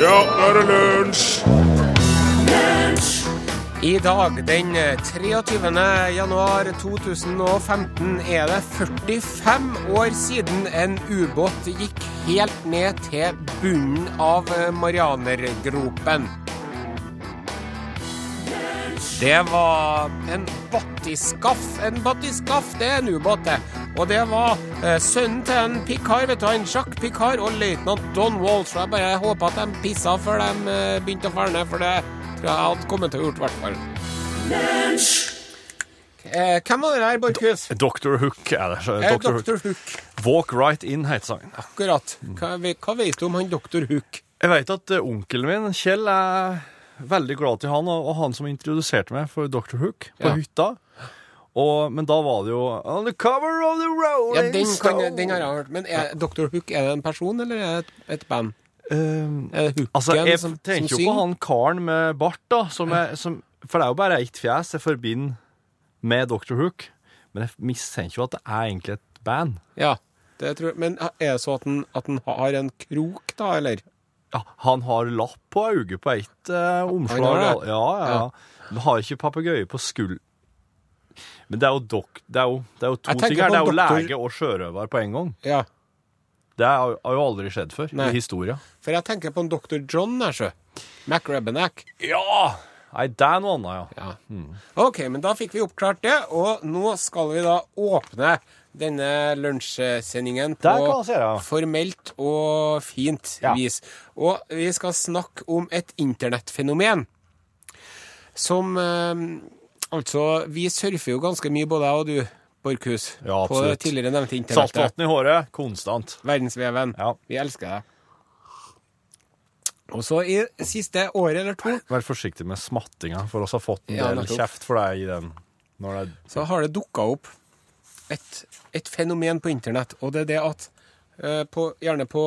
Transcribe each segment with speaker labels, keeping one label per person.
Speaker 1: Ja, nå er det lunsj!
Speaker 2: I dag, den 23. januar 2015, er det 45 år siden en ubåt gikk helt ned til bunnen av eh, Marianergropen. Det var en battiskaff. En battiskaff, det er en ubåt, det. Og det var eh, sønnen til en Picard, vet du, en Jacques Picard og løytnant Don Walsh. Og jeg bare håper at de pissa før de eh, begynte å ferne, for det tror jeg jeg hadde kommet til å gjort, i hvert fall. Eh, hvem var det der, Borchhus?
Speaker 1: Dr. Hook er det.
Speaker 2: Eh,
Speaker 1: Dr. Hook.
Speaker 2: Dr. Hook.
Speaker 1: Walk Right In heter sangen.
Speaker 2: Akkurat. Hva, ve- hva vet du om han Dr. Hook?
Speaker 1: Jeg vet at eh, onkelen min, Kjell, er veldig glad til han, og og han som introduserte meg for Dr. Hook på
Speaker 2: Ja.
Speaker 1: hytta. Og, men da var det jo On the cover of the Rolling
Speaker 2: Ja, den, kan,
Speaker 1: Stone.
Speaker 2: den har jeg hørt. Men er Dr. Hook er det en person, eller er det et, et band?
Speaker 1: Eh,
Speaker 2: Er det hooken
Speaker 1: altså, jeg
Speaker 2: som, som
Speaker 1: tenker jo på
Speaker 2: synger?
Speaker 1: han karen med bart, da, som er, som, for det er jo bare ett fjes jeg forbinder med Dr. Hook. Men jeg mistenker jo at det er egentlig et band.
Speaker 2: Ja, det tror jeg. Men er det så at den, at den har en krok, da, eller?
Speaker 1: Ja, han har lapp på øyet på ett eh, omslag.
Speaker 2: har
Speaker 1: Ja,
Speaker 2: det?
Speaker 1: ja, ja. Han har ikke papegøye på skuld... Men det er jo, dok det er jo, det er jo to
Speaker 2: Jeg tenker
Speaker 1: ting her.
Speaker 2: på
Speaker 1: Det er jo
Speaker 2: doktor-
Speaker 1: lege og sjørøver på en gang.
Speaker 2: Ja.
Speaker 1: Det har jo- har jo aldri skjedd før
Speaker 2: Nei.
Speaker 1: i historia.
Speaker 2: For jeg tenker på en Dr. John der, sjø. MacRabenack.
Speaker 1: Ja! Nei, det er noe annet, ja.
Speaker 2: Ja. OK, men da fikk vi oppklart det, og nå skal vi da åpne denne lunsjsendingen på
Speaker 1: Der kan man se det, ja.
Speaker 2: formelt og fint
Speaker 1: Ja.
Speaker 2: vis. Og vi skal snakke om et internettfenomen som eh, Altså, vi surfer jo ganske mye, både jeg og du, Borchhus,
Speaker 1: Ja,
Speaker 2: på det
Speaker 1: absolutt.
Speaker 2: tidligere nevnte internettet.
Speaker 1: Saltvann i håret, konstant.
Speaker 2: Verdensveven.
Speaker 1: Ja.
Speaker 2: Vi elsker deg. Og så i siste året eller to
Speaker 1: Vær forsiktig med smattinga, for oss har fått en
Speaker 2: Ja,
Speaker 1: del
Speaker 2: nettopp.
Speaker 1: kjeft for deg i den. Når det er
Speaker 2: så har det dukka opp et, et fenomen på internett, og det er det at eh, på, gjerne på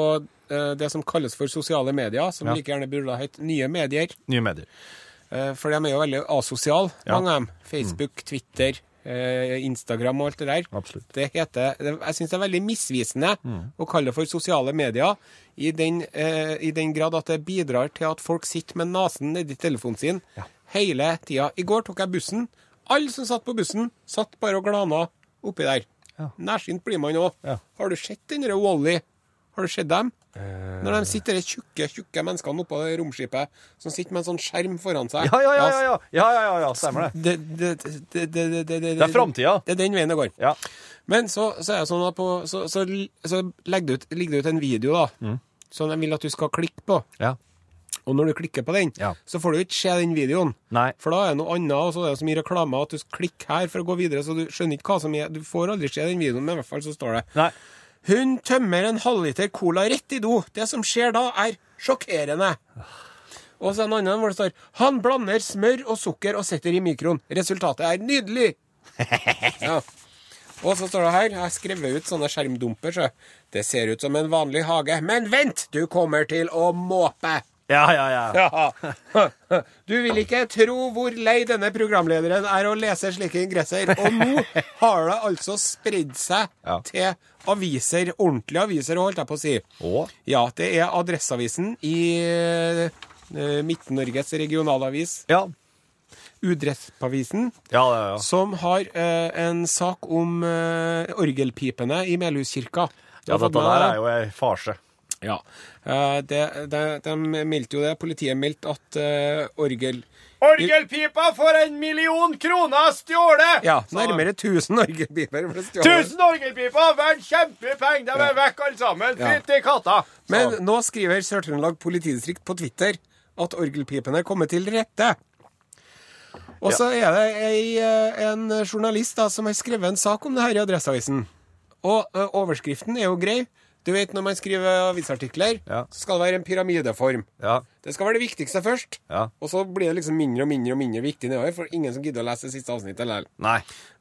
Speaker 2: eh, det som kalles for sosiale medier, som
Speaker 1: Ja.
Speaker 2: like gjerne burde ha hett nye medier,
Speaker 1: nye medier.
Speaker 2: eh, for de er jo veldig asosiale,
Speaker 1: Ja.
Speaker 2: mange av dem. Facebook, Twitter, eh, Instagram og alt det der.
Speaker 1: Absolutt.
Speaker 2: Det heter, det, jeg syns det er veldig misvisende
Speaker 1: Mm.
Speaker 2: å kalle det for sosiale medier, i den, eh, i den grad at det bidrar til at folk sitter med nesen nedi telefonen sin
Speaker 1: Ja.
Speaker 2: hele tida. I går tok jeg bussen. Alle som satt på bussen, satt bare og glana oppi der.
Speaker 1: Ja.
Speaker 2: Nærsynt blir man òg.
Speaker 1: Ja. Eh.
Speaker 2: Har du sett den derre Wally? Har du sett dem? Når de sitter, de tjukke tjukke menneskene oppå det romskipet som sitter med en sånn skjerm foran seg.
Speaker 1: Ja, ja, ja, ja, ja, ja, ja, ja, ja stemmer det.
Speaker 2: Det, det, det, det, det, det, det,
Speaker 1: Det er framtida.
Speaker 2: Det er den veien det går.
Speaker 1: Ja.
Speaker 2: Men så, så er det sånn at på, så, så, så legger det ut, ligger det ut en video da,
Speaker 1: Mm.
Speaker 2: som de vil at du skal klikke på.
Speaker 1: ja.
Speaker 2: Og når du klikker på den,
Speaker 1: Ja.
Speaker 2: så får du ikke se den videoen.
Speaker 1: Nei.
Speaker 2: For da er det noe annet, og så er det så mye reklame at du klikker her for å gå videre, så du skjønner ikke hva som er Du får aldri se den videoen, men i hvert fall så står det
Speaker 1: Nei.
Speaker 2: Hun tømmer en halvliter cola rett i do. Det som skjer da, er sjokkerende. Og så er det en annen hvor det står Han blander smør og sukker og setter i mikroen. Resultatet er nydelig. Ja. Og så står det her, jeg har skrevet ut sånne skjermdumper, så det ser ut som en vanlig hage. Men vent, du kommer til å måpe!
Speaker 1: Ja, ja, ja.
Speaker 2: Ja. Du vil ikke tro hvor lei denne programlederen er å lese slike ingresser. Og nå har det altså spredd seg
Speaker 1: Ja.
Speaker 2: til aviser, ordentlige aviser, holdt jeg på å si.
Speaker 1: Og?
Speaker 2: Ja, det er Adresseavisen i eh, Midt-Norges regionalavis,
Speaker 1: Ja,
Speaker 2: Udrettspavisen,
Speaker 1: ja, ja. ja.
Speaker 2: som har eh, en sak om eh, orgelpipene i Melhuskirka.
Speaker 1: Ja, dette der er jo ei farse.
Speaker 2: Ja. Eh, det, det, de meldte jo det. Politiet meldte at eh, orgel
Speaker 1: Orgelpipa for en million kroner stjålet!
Speaker 2: Ja, nærmere 1000 orgelpiper ble stjålet.
Speaker 1: Tusen orgelpiper! Verdt kjempepeng! De er vekk alle sammen!
Speaker 2: Ja.
Speaker 1: Fritt i katta! Så.
Speaker 2: Men nå skriver Sør-Trøndelag politidistrikt på Twitter at orgelpipene kommer til rette. Og så er det ei, eh, en journalist da, som har skrevet en sak om det her i Adresseavisen. Og eh, overskriften er jo grei. Du vet når man skriver avisartikler,
Speaker 1: Ja.
Speaker 2: så skal det være en pyramideform.
Speaker 1: Ja,
Speaker 2: Det skal være det viktigste først,
Speaker 1: Ja.
Speaker 2: og så blir det liksom mindre og mindre og mindre viktig nedover, for ingen som gidder å lese det siste avsnittet likevel.
Speaker 1: nei.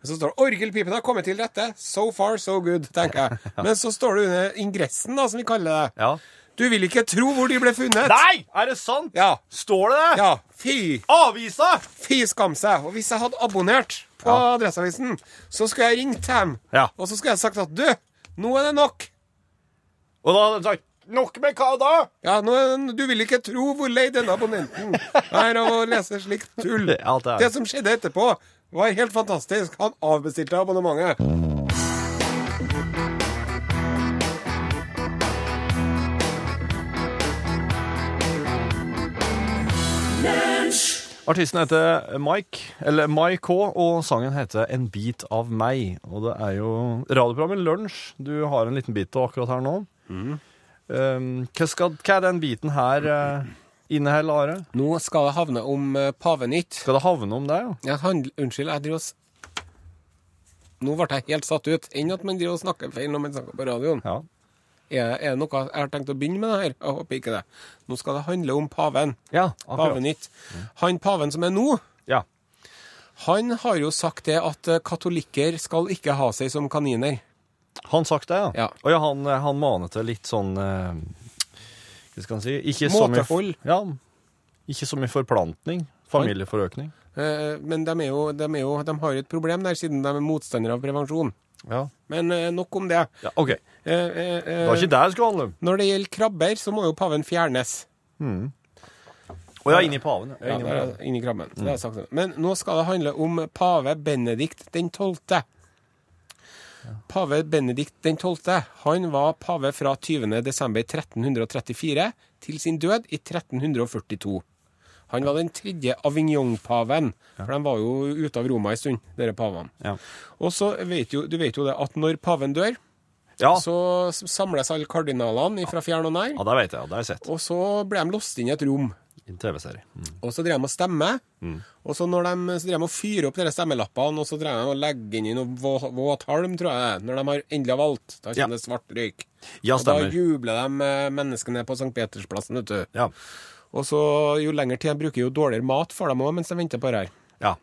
Speaker 2: Så står det 'Orgelpipene har kommet til rette'. So far, so good, tenker jeg. Men så står det under ingressen, da, som vi kaller det.
Speaker 1: Ja.
Speaker 2: Du vil ikke tro hvor de ble funnet!
Speaker 1: Nei! Er det sant?
Speaker 2: Ja.
Speaker 1: Står det det?
Speaker 2: Ja, fy,
Speaker 1: Avisa!
Speaker 2: fy skam seg. Og hvis jeg hadde abonnert på
Speaker 1: Ja.
Speaker 2: Adresseavisen, så skulle jeg ringt dem,
Speaker 1: Ja.
Speaker 2: og så skulle jeg sagt at du, nå er det nok.
Speaker 1: Og da hadde de sagt
Speaker 3: Nok med hva da?
Speaker 2: Ja, nå, Du vil ikke tro hvor lei denne abonnenten er av å lese slikt tull.
Speaker 1: Ja, det er-
Speaker 2: Det som skjedde etterpå, var helt fantastisk. Han avbestilte abonnementet.
Speaker 1: Artisten heter Mike, eller Mike K, og sangen heter En bit av meg. Og det er jo radioprogrammet Lunsj. Du har en liten bit av akkurat her nå. Mm. Um, hva, skal, hva er den biten her uh, inneholder, Are?
Speaker 2: Nå skal det havne om eh, Pavenytt.
Speaker 1: Skal det havne om deg?
Speaker 2: Jeg handl- unnskyld, jeg driver og s- Nå ble jeg helt satt ut. Enn at man driver og snakker feil når man snakker på radioen.
Speaker 1: Ja.
Speaker 2: Er, er det noe Jeg har tenkt å begynne med det her. Jeg håper ikke det. Nå skal det handle om paven.
Speaker 1: ja, akkurat.
Speaker 2: Pavenytt. Han paven som er nå,
Speaker 1: Ja.
Speaker 2: han har jo sagt det at eh, katolikker skal ikke ha seg som kaniner.
Speaker 1: Han sagt det, ja.
Speaker 2: Ja.
Speaker 1: Og ja, han, eh, han maner til litt sånn eh, Hva skal han si? Ikke
Speaker 2: Måtehold.
Speaker 1: Som i, ja. Ikke som i forplantning. Familieforøkning.
Speaker 2: Eh, Men de, er jo, de, er jo, de har jo et problem der, siden de er motstandere av prevensjon.
Speaker 1: Ja.
Speaker 2: Men eh, nok om det.
Speaker 1: ja. OK. Det
Speaker 2: Eh, eh, eh,
Speaker 1: var ikke det det skulle handle om.
Speaker 2: Når det gjelder krabber, så må jo paven fjernes.
Speaker 1: Å ja, inni paven.
Speaker 2: Ja,
Speaker 1: Ja.
Speaker 2: der
Speaker 1: Inni
Speaker 2: er
Speaker 1: paven.
Speaker 2: det, inni krabben.
Speaker 1: Mm.
Speaker 2: Det har jeg sagt. Men nå skal det handle om pave Benedikt den 12. Pave Benedikt den 12. Han var pave fra 20. desember 1334 til sin død i 1342. Han var den tredje avignon-paven, for de var jo ute av Roma en stund, dere pavene.
Speaker 1: Ja.
Speaker 2: Og så vet jo, du vet jo det at når paven dør,
Speaker 1: Ja.
Speaker 2: så samles alle kardinalene fra fjern og nær,
Speaker 1: ja, det vet jeg. Det har jeg sett
Speaker 2: og så ble de låst inn i et rom.
Speaker 1: i en TV-serie. Mm.
Speaker 2: Og så drev de og stemme. Og så, når de, så drev de og fyrer opp de stemmelappene, og så drev de og legger inn i noe vå- våt halm, tror jeg, det er, når de har endelig har valgt. Da
Speaker 1: Ja.
Speaker 2: kommer det svart røyk.
Speaker 1: Ja,
Speaker 2: og da
Speaker 1: stemmer.
Speaker 2: jubler de eh, menneskene på St. Petersplassen, vet du.
Speaker 1: Ja.
Speaker 2: Og så jo lenger tid de bruker, jo dårligere mat får de òg mens de venter på det her.
Speaker 1: ja.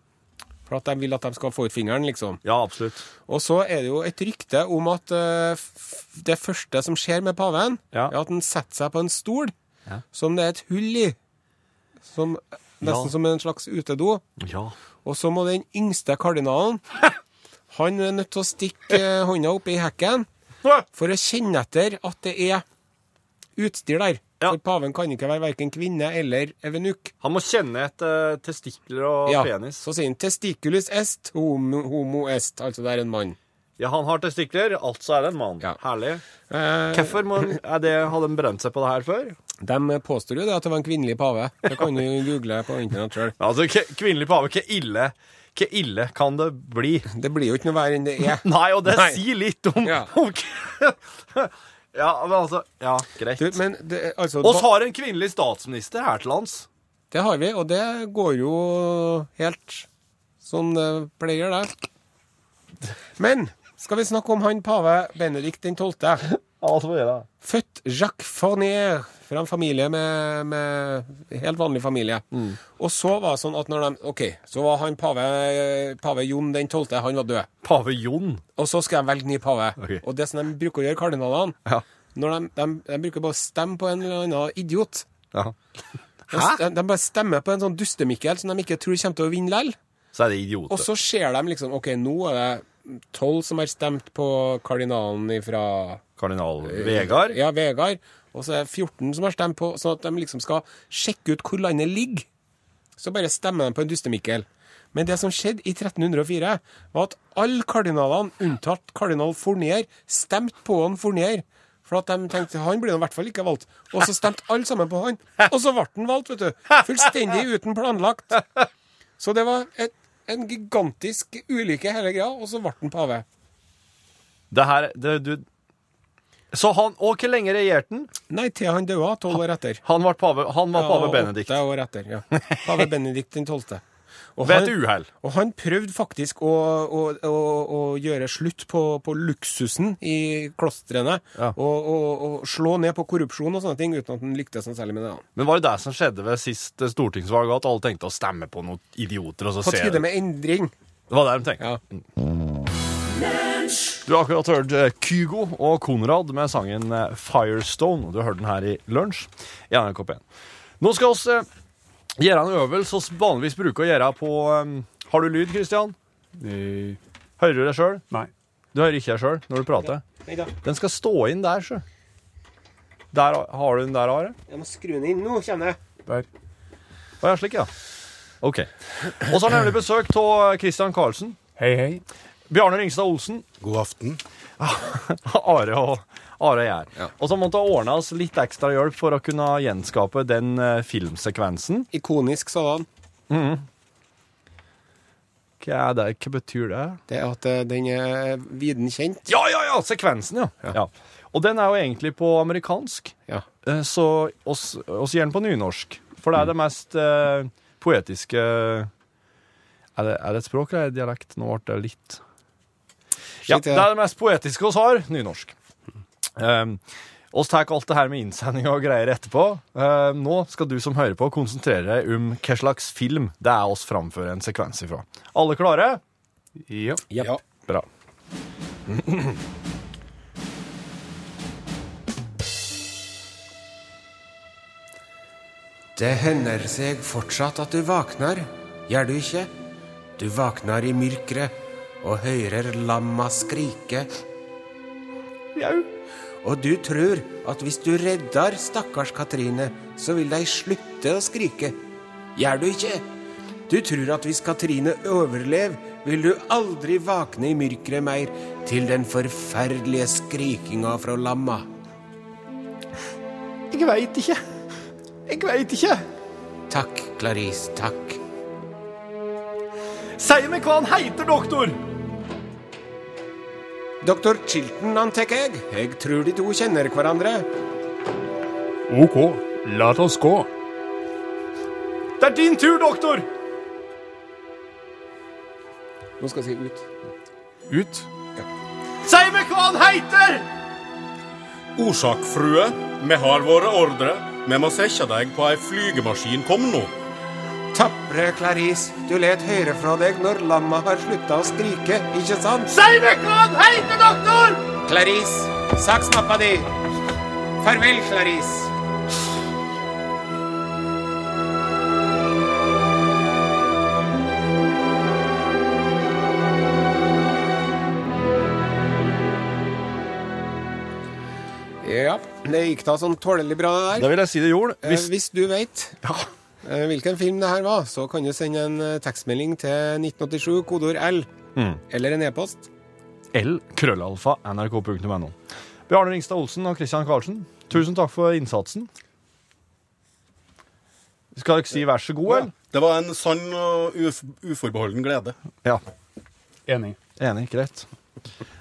Speaker 2: For at de vil at de skal få ut fingeren, liksom.
Speaker 1: Ja, absolutt.
Speaker 2: Og så er det jo et rykte om at eh, f- det første som skjer med paven,
Speaker 1: Ja.
Speaker 2: er at han setter seg på en stol
Speaker 1: Ja.
Speaker 2: som det er et hull i. Som, nesten
Speaker 1: Ja.
Speaker 2: som en slags utedo.
Speaker 1: Ja.
Speaker 2: Og så må den yngste kardinalen Han er nødt til å stikke eh, hånda opp i hekken for å kjenne etter at det er utstyr der.
Speaker 1: Ja.
Speaker 2: For paven kan ikke være verken kvinne eller evenukk.
Speaker 1: Han må kjenne etter testikler og
Speaker 2: Ja,
Speaker 1: penis.
Speaker 2: Så sier han 'testiculus est homo, homo est', altså det er en mann.
Speaker 1: Ja, han har testikler, altså er det en mann.
Speaker 2: Ja.
Speaker 1: Herlig.
Speaker 2: Eh,
Speaker 1: Hvorfor må han- er det- har de brent seg på det her før?
Speaker 2: De påstår jo det at det var en kvinnelig pave. Det kan du google på internett sjøl.
Speaker 1: Altså, k- kvinnelig pave, hva ille, hva ille kan det bli?
Speaker 2: Det blir jo ikke noe verre enn det er.
Speaker 1: Nei, og det
Speaker 2: Nei.
Speaker 1: sier litt om,
Speaker 2: Ja.
Speaker 1: om k- Ja, men altså Ja, greit.
Speaker 2: Du, men det, altså,
Speaker 1: oss har en kvinnelig statsminister her til lands.
Speaker 2: det har vi, og det går jo helt sånn det pleier, det. Men skal vi snakke om han pave Benedikt den 12.?
Speaker 1: altså,
Speaker 2: Født Jacques Fournier fra en familie med, med helt vanlig familie. Og så var det sånn at når de OK, så var han pave, pave Jon den 12., han var død.
Speaker 1: Pave Jon.
Speaker 2: Og så skal de velge ny pave.
Speaker 1: Ok.
Speaker 2: Og det som de bruker å gjøre, kardinalene
Speaker 1: Ja.
Speaker 2: når de, de, de bruker bare å stemme på en eller annen idiot.
Speaker 1: Ja.
Speaker 2: De, de, de bare stemmer på en sånn dustemikkel som de ikke tror kommer til å vinne likevel.
Speaker 1: Så er det idioter.
Speaker 2: Og så ser de liksom OK, nå er det tolv som har stemt på kardinalen ifra
Speaker 1: Kardinal Vegard.
Speaker 2: Eh, Ja, Vegard. Og så er det 14 som har stemt på, sånn at de liksom skal sjekke ut hvor landet ligger. Så bare stemmer de på en dustemikkel. Men det som skjedde i 1304, var at alle kardinalene, unntatt kardinal Fournier, stemte på han Fournier. For at de tenkte han blir nå i hvert fall ikke valgt. Og så stemte alle sammen på han. Og så ble han valgt, vet du. Fullstendig uten planlagt. Så det var et, en gigantisk ulykke hele greia, og så ble han pave.
Speaker 1: Det her det, du, Så han Og hvor lenge regjerte han?
Speaker 2: Nei, til han døde, tolv år etter.
Speaker 1: Han var pave, han var pave
Speaker 2: Ja,
Speaker 1: Benedikt.
Speaker 2: Åtte år etter, ja. Pave Benedikt den 12. Og
Speaker 1: Ved et
Speaker 2: han-
Speaker 1: uhell.
Speaker 2: Og han prøvde faktisk å, å, å, å gjøre slutt på, på luksusen i klostrene.
Speaker 1: Ja.
Speaker 2: Og, og, og slå ned på korrupsjon og sånne ting, uten at han lyktes noe særlig med det.
Speaker 1: Men var det det som skjedde ved sist eh, stortingsvalg, at alle tenkte å stemme på noen idioter? og så
Speaker 2: På
Speaker 1: ser
Speaker 2: tide
Speaker 1: de.
Speaker 2: med endring.
Speaker 1: Det var der de tenkte.
Speaker 2: Ja.
Speaker 1: Du har akkurat hørt eh, Kygo og Konrad med sangen eh, Firestone. og Du hørte den her i lunsj i NRK1. Nå skal vi eh, gjøre en øvelse vi vanligvis bruker å gjøre på eh, Har du lyd, Kristian?
Speaker 4: Nei.
Speaker 1: Hører du deg sjøl?
Speaker 4: Nei.
Speaker 1: Du hører ikke deg sjøl når du prater?
Speaker 2: Nei da.
Speaker 1: Den skal stå inn der, sjø. Der har du den der, Are.
Speaker 2: Jeg må skru den inn. Nå kjenner jeg.
Speaker 1: Der. Å ja, slik, ja. OK. Og så har jeg nemlig besøk av Christian Karlsen.
Speaker 3: Hei, hei.
Speaker 1: Bjarne Ringstad Olsen.
Speaker 4: God aften.
Speaker 1: Are og Are og jeg.
Speaker 4: Ja.
Speaker 1: Og så måtte det ordnes litt ekstra hjelp for å kunne gjenskape den eh, filmsekvensen.
Speaker 2: Ikonisk sådan.
Speaker 1: Hva er det? Hva betyr det?
Speaker 2: Det er at eh, den er viden kjent.
Speaker 1: Ja, ja, ja! Sekvensen, ja. ja. Og den er jo egentlig på amerikansk,
Speaker 2: Ja.
Speaker 1: eh, så oss, oss gjør den på nynorsk. For det er det mest eh, poetiske er det, er det et språk eller er det dialekt? Nå ble det litt Ja,
Speaker 2: Shit,
Speaker 1: det er det mest poetiske oss har. Nynorsk. Um, oss tar alt det her med innsendinger og greier etterpå. Eh, nå skal du som hører på, konsentrere deg om hva slags film det er oss framfører en sekvens ifra. Alle klare?
Speaker 3: Ja.
Speaker 2: Ja.
Speaker 1: Bra.
Speaker 2: Det hender seg fortsatt at du våkner, gjør du ikke? Du våkner i mørket og hører lamma skrike,
Speaker 1: Jau.
Speaker 2: og du tror at hvis du redder stakkars Katrine, så vil de slutte å skrike. Gjør du ikke? Du tror at hvis Katrine overlever, vil du aldri våkne i mørket mer til den forferdelige skrikinga fra lamma.
Speaker 1: Jeg veit ikke. Jeg veit ikke.
Speaker 2: Takk, Clarice, takk.
Speaker 1: Si meg hva han heter, doktor!
Speaker 2: Doktor Chilton, antar jeg. Jeg tror de to kjenner hverandre.
Speaker 3: OK, la oss gå.
Speaker 1: Det er din tur, doktor!
Speaker 2: Nå skal jeg si ut.
Speaker 3: Ut.
Speaker 1: Si meg hva han heter!
Speaker 4: Orsak, frue. Vi har våre ordre. Vi må sette deg på ei flygemaskin. Kom nå.
Speaker 2: Tapre Clarice, du let høre fra deg når lamma har slutta å skrike, ikke sant?
Speaker 1: Si meg hva han heter, doktor!
Speaker 2: Clarice, saks nappa di! Farvel, Clarice. Ja, det gikk da sånn tålelig bra, det der.
Speaker 1: Da vil jeg si det gjorde.
Speaker 2: Eh, Hvis, du vet eh, hvilken film det her var, så kan du sende en eh, tekstmelding til 1987, kodeord L,
Speaker 1: Mm.
Speaker 2: eller en e-post.
Speaker 1: L-krøllalfa nrk.no. Bjarne Ringstad Olsen og Christian Karlsen, tusen takk for innsatsen. Skal dere si vær så god, eller?
Speaker 4: Det var en sann og uf uforbeholden glede.
Speaker 1: Ja.
Speaker 3: Enig.
Speaker 1: Enig. Greit.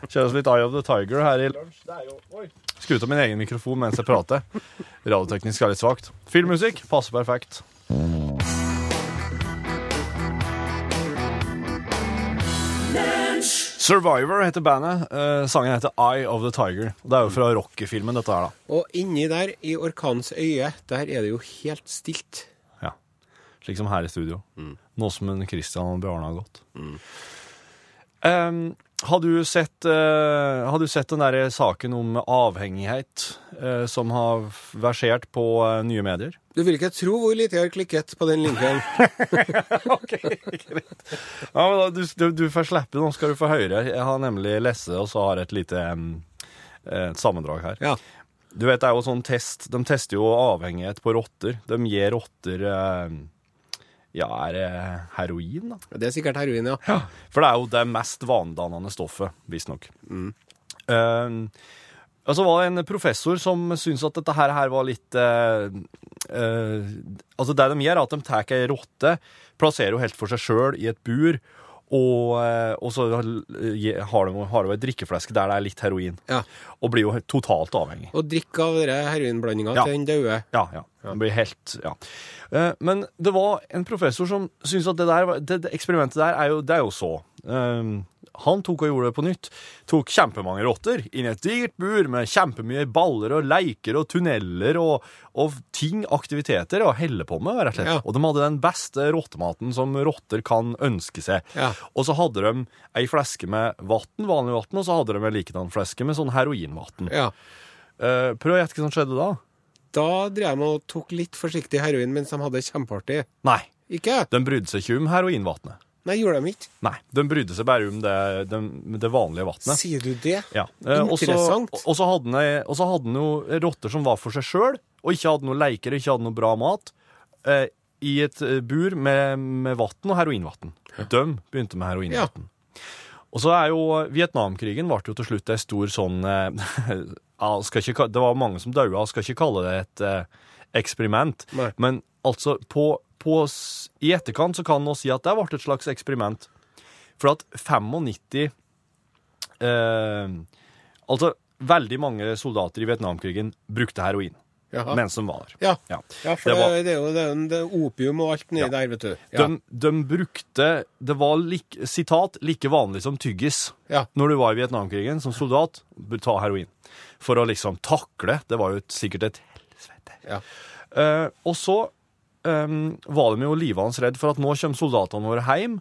Speaker 1: Kjører oss litt Eye of the Tiger her i lunsj. Det er jo- oi. Skru ut av min egen mikrofon mens jeg prater. Radioteknisk er litt svakt. Filmmusikk passer perfekt. Survivor heter bandet. Eh, sangen heter Eye of the Tiger. Det er jo fra Rocky-filmen, dette her, da.
Speaker 2: Og inni der, i orkanens øye, der er det jo helt stilt.
Speaker 1: Ja. Slik som her i studio. Nå som en Christian og Bjarne har gått. Em, har, du sett, eh, har du sett den der saken om avhengighet eh, som har versert på eh, nye medier?
Speaker 2: Du vil ikke tro hvor lite jeg har klikket på den linken.
Speaker 1: Ja, men da, du, du, du får slippe, nå skal du få høre. Jeg har nemlig lest det, og så har jeg et lite em, eh, et sammendrag her.
Speaker 2: Ja.
Speaker 1: Du vet, det er jo sånn test. De tester jo avhengighet på rotter. De gir rotter em, Ja, er det heroin, da?
Speaker 2: Det er sikkert heroin, ja.
Speaker 1: For det er jo det mest vanedannende stoffet, visstnok. Eh, og så var det en professor som syntes at dette her, her var litt eh, eh, Altså, det de gjør, er at de tar ei rotte, plasserer henne helt for seg sjøl i et bur, og, eh, og så har de, har de ei drikkeflaske der det er litt heroin.
Speaker 2: ja.
Speaker 1: Og blir jo helt totalt avhengig.
Speaker 2: Og drikk av denne heroinblandinga
Speaker 1: Ja.
Speaker 2: til den døde.
Speaker 1: Ja, ja. Den blir helt Ja. Eh, men det var en professor som syntes at det, der, var- det, det eksperimentet der er jo, det er jo så. Eh, han tok og gjorde det på nytt. Tok kjempemange rotter inn i et digert bur med kjempemye baller og leker og tunneler og, og ting, aktiviteter, og helle på med, rett og slett.
Speaker 2: Ja.
Speaker 1: Og de hadde den beste rottematen som rotter kan ønske seg.
Speaker 2: Ja.
Speaker 1: Og så hadde de ei fleske med vann, vanlig vann, og så hadde de ei likedan fleske med sånn heroinvann.
Speaker 2: Ja.
Speaker 1: Eh, prøv å gjette hva som skjedde da.
Speaker 2: Da drev de og tok litt forsiktig heroin mens de hadde kjempeartig.
Speaker 1: Nei.
Speaker 2: Ikke?
Speaker 1: De brydde seg ikke om heroinvatnet.
Speaker 2: Nei, gjorde de ikke?
Speaker 1: Nei, de brydde seg bare om det, dem- det vanlige vannet.
Speaker 2: Sier du det?
Speaker 1: Ja. eh, og så-
Speaker 2: Interessant.
Speaker 1: Og så hadde han- og så hadde han jo rotter som var for seg sjøl, og ikke hadde noe leker, ikke hadde noe bra mat, eh, i et eh, bur med, med vann og heroinvann. De begynte med heroinvann. Og så er jo Vietnamkrigen ble jo til slutt ei stor sånn eh, ja, skal ikke, ka- Det var mange som daua, skal ikke kalle det et eh, eksperiment.
Speaker 2: Nei.
Speaker 1: Men altså, på, på, s- i etterkant så kan man si at det ble et slags eksperiment. For at 95 eh, Altså, veldig mange soldater i Vietnamkrigen brukte heroin
Speaker 2: Jaha.
Speaker 1: mens de var der.
Speaker 2: Ja.
Speaker 1: Ja.
Speaker 2: ja, for
Speaker 1: Det
Speaker 2: det,
Speaker 1: var-
Speaker 2: det er jo det, er- det er opium og alt nedi der, vet du. Ja.
Speaker 1: De, de brukte Det var lik, sitat like vanlig som tyggis
Speaker 2: Ja.
Speaker 1: når du var i Vietnamkrigen som soldat. bør Ta heroin. For å liksom takle. Det var jo et- sikkert et helvete.
Speaker 2: Ja.
Speaker 1: Eh, og så eh, var de jo livende redd for at nå kommer soldatene våre hjem.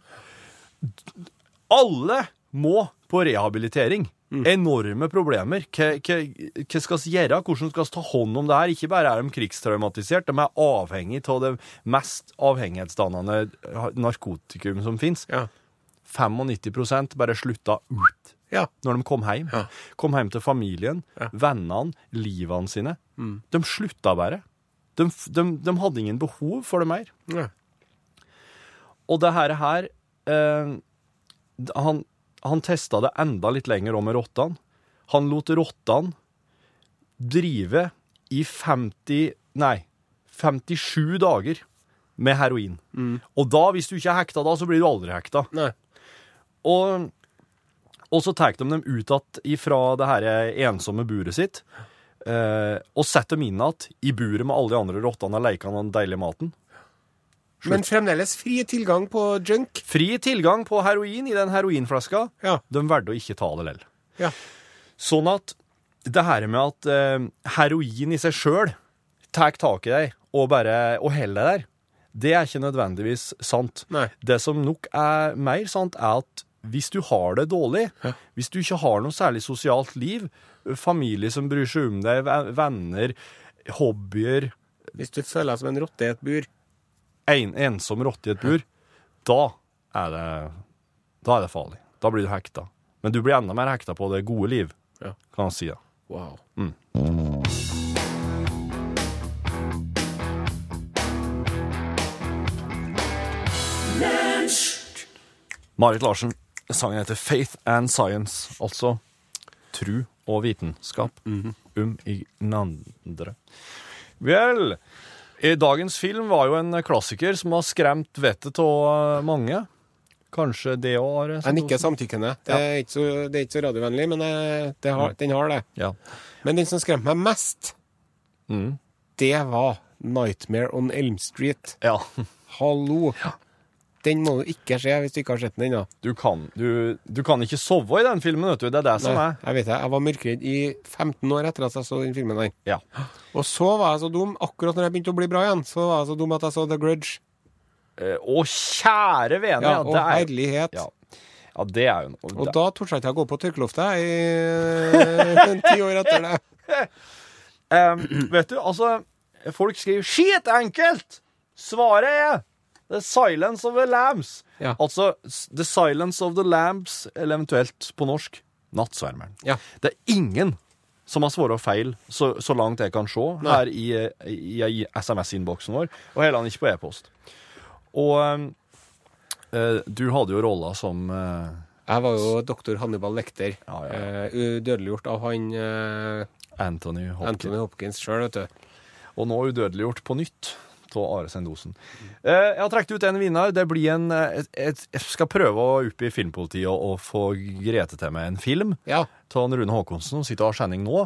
Speaker 1: Alle må på rehabilitering.
Speaker 2: Mm.
Speaker 1: Enorme problemer. Hva hva- hva skal vi gjøre? Hvordan skal vi ta hånd om det her? Ikke bare er de krigstraumatisert, de er avhengig av det mest avhengighetsdannende narkotikum som fins.
Speaker 2: Ja.
Speaker 1: 95 bare slutta ut
Speaker 2: ja.
Speaker 1: når de kom hjem.
Speaker 2: Ja.
Speaker 1: Kom hjem til familien, vennene, livene sine. De slutta bare. De, f- de, de hadde ingen behov for det mer.
Speaker 2: ja.
Speaker 1: Og det her, her eh, han, han testa det enda litt lenger om med rottene. Han lot rottene drive i 50 Nei, 57 dager med heroin. Og da, hvis du ikke er hekta da, så blir du aldri hekta.
Speaker 2: Nei.
Speaker 1: Og, og så tar de dem ut att ifra det her ensomme buret sitt, eh, og setter dem inn att i buret med alle de andre rottene og leikene og den deilige maten.
Speaker 2: Men fremdeles fri tilgang på junk.
Speaker 1: Fri tilgang på heroin i den heroinflaska.
Speaker 2: Ja.
Speaker 1: De valgte å ikke ta det lell.
Speaker 2: Ja.
Speaker 1: Sånn at det her med at eh, heroin i seg sjøl tar tak i deg og bare og holder deg der, det er ikke nødvendigvis sant.
Speaker 2: Nei.
Speaker 1: Det som nok er mer sant, er at hvis du har det dårlig, hvis du ikke har noe særlig sosialt liv, familie som bryr seg om deg, ve- venner, hobbyer,
Speaker 2: Hvis du føler deg som en rotte i et bur.
Speaker 1: en, ensom rotte i et bur, da er det da er det farlig. Da blir du hekta. Men du blir enda mer hekta på det gode liv,
Speaker 2: Ja.
Speaker 1: kan man si. da.
Speaker 2: Wow.
Speaker 1: Marit Larsen, sangen heter Faith and Science, altså tru og vitenskap
Speaker 2: Mhm.
Speaker 1: um i nandre. Vel, i dagens film var jo en klassiker som har skremt vettet av eh, mange. Kanskje det òg har
Speaker 2: Jeg nikker samtykkende. Det er ikke så, det er ikke så radiovennlig, men eh, det har, den har det.
Speaker 1: Ja.
Speaker 2: Men den som skremte meg mest,
Speaker 1: Mm.
Speaker 2: det var 'Nightmare on Elm Street'.
Speaker 1: ja.
Speaker 2: Hallo! Den må du ikke se hvis du ikke har sett den ennå.
Speaker 1: Du, kan, du, du kan ikke sove i den filmen, vet du. Det er det som
Speaker 2: Nei,
Speaker 1: er.
Speaker 2: Jeg vet det. Jeg var mørkredd i 15 år etter at jeg så den filmen der.
Speaker 1: Ja.
Speaker 2: Og så var jeg så dum, akkurat når jeg begynte å bli bra igjen, så var jeg så dum at jeg så The Grudge.
Speaker 1: Eh, Å, kjære vene!
Speaker 2: Ja,
Speaker 1: Ja,
Speaker 2: og
Speaker 1: det er,
Speaker 2: herlighet.
Speaker 1: ja. ja, det er jo noe.
Speaker 2: Og da torde jeg ikke å gå på tørkeloftet jeg, i ti år etter det.
Speaker 1: Eh, vet du, altså Folk skriver 'skit enkelt'! Svaret er 'The Silence of the Lambs'.
Speaker 2: Ja.
Speaker 1: Altså s- 'The Silence of the Lambs', eller eventuelt på norsk 'Nattsvermeren'.
Speaker 2: Ja.
Speaker 1: Det er ingen som har svart feil, så, så langt jeg kan se, her i, eh, i, i SMS-innboksen vår, og heller ikke på e-post. Og eh, du hadde jo rolla som eh,
Speaker 2: Jeg var jo doktor Hannibal Lekter.
Speaker 1: Ja, ja,
Speaker 2: eh, udødeliggjort av han eh,
Speaker 1: Anthony Hopkins.
Speaker 2: Anthony Hopkins sjøl, vet du.
Speaker 1: Og nå udødeliggjort på nytt av Are Sendosen. Eh, jeg har trukket ut en vinner. Det blir en eh, et, et, Jeg skal prøve å opp i Filmpolitiet og, og få Grete til meg en film
Speaker 2: Ja.
Speaker 1: av han Rune Håkonsen, som sitter og har sending nå.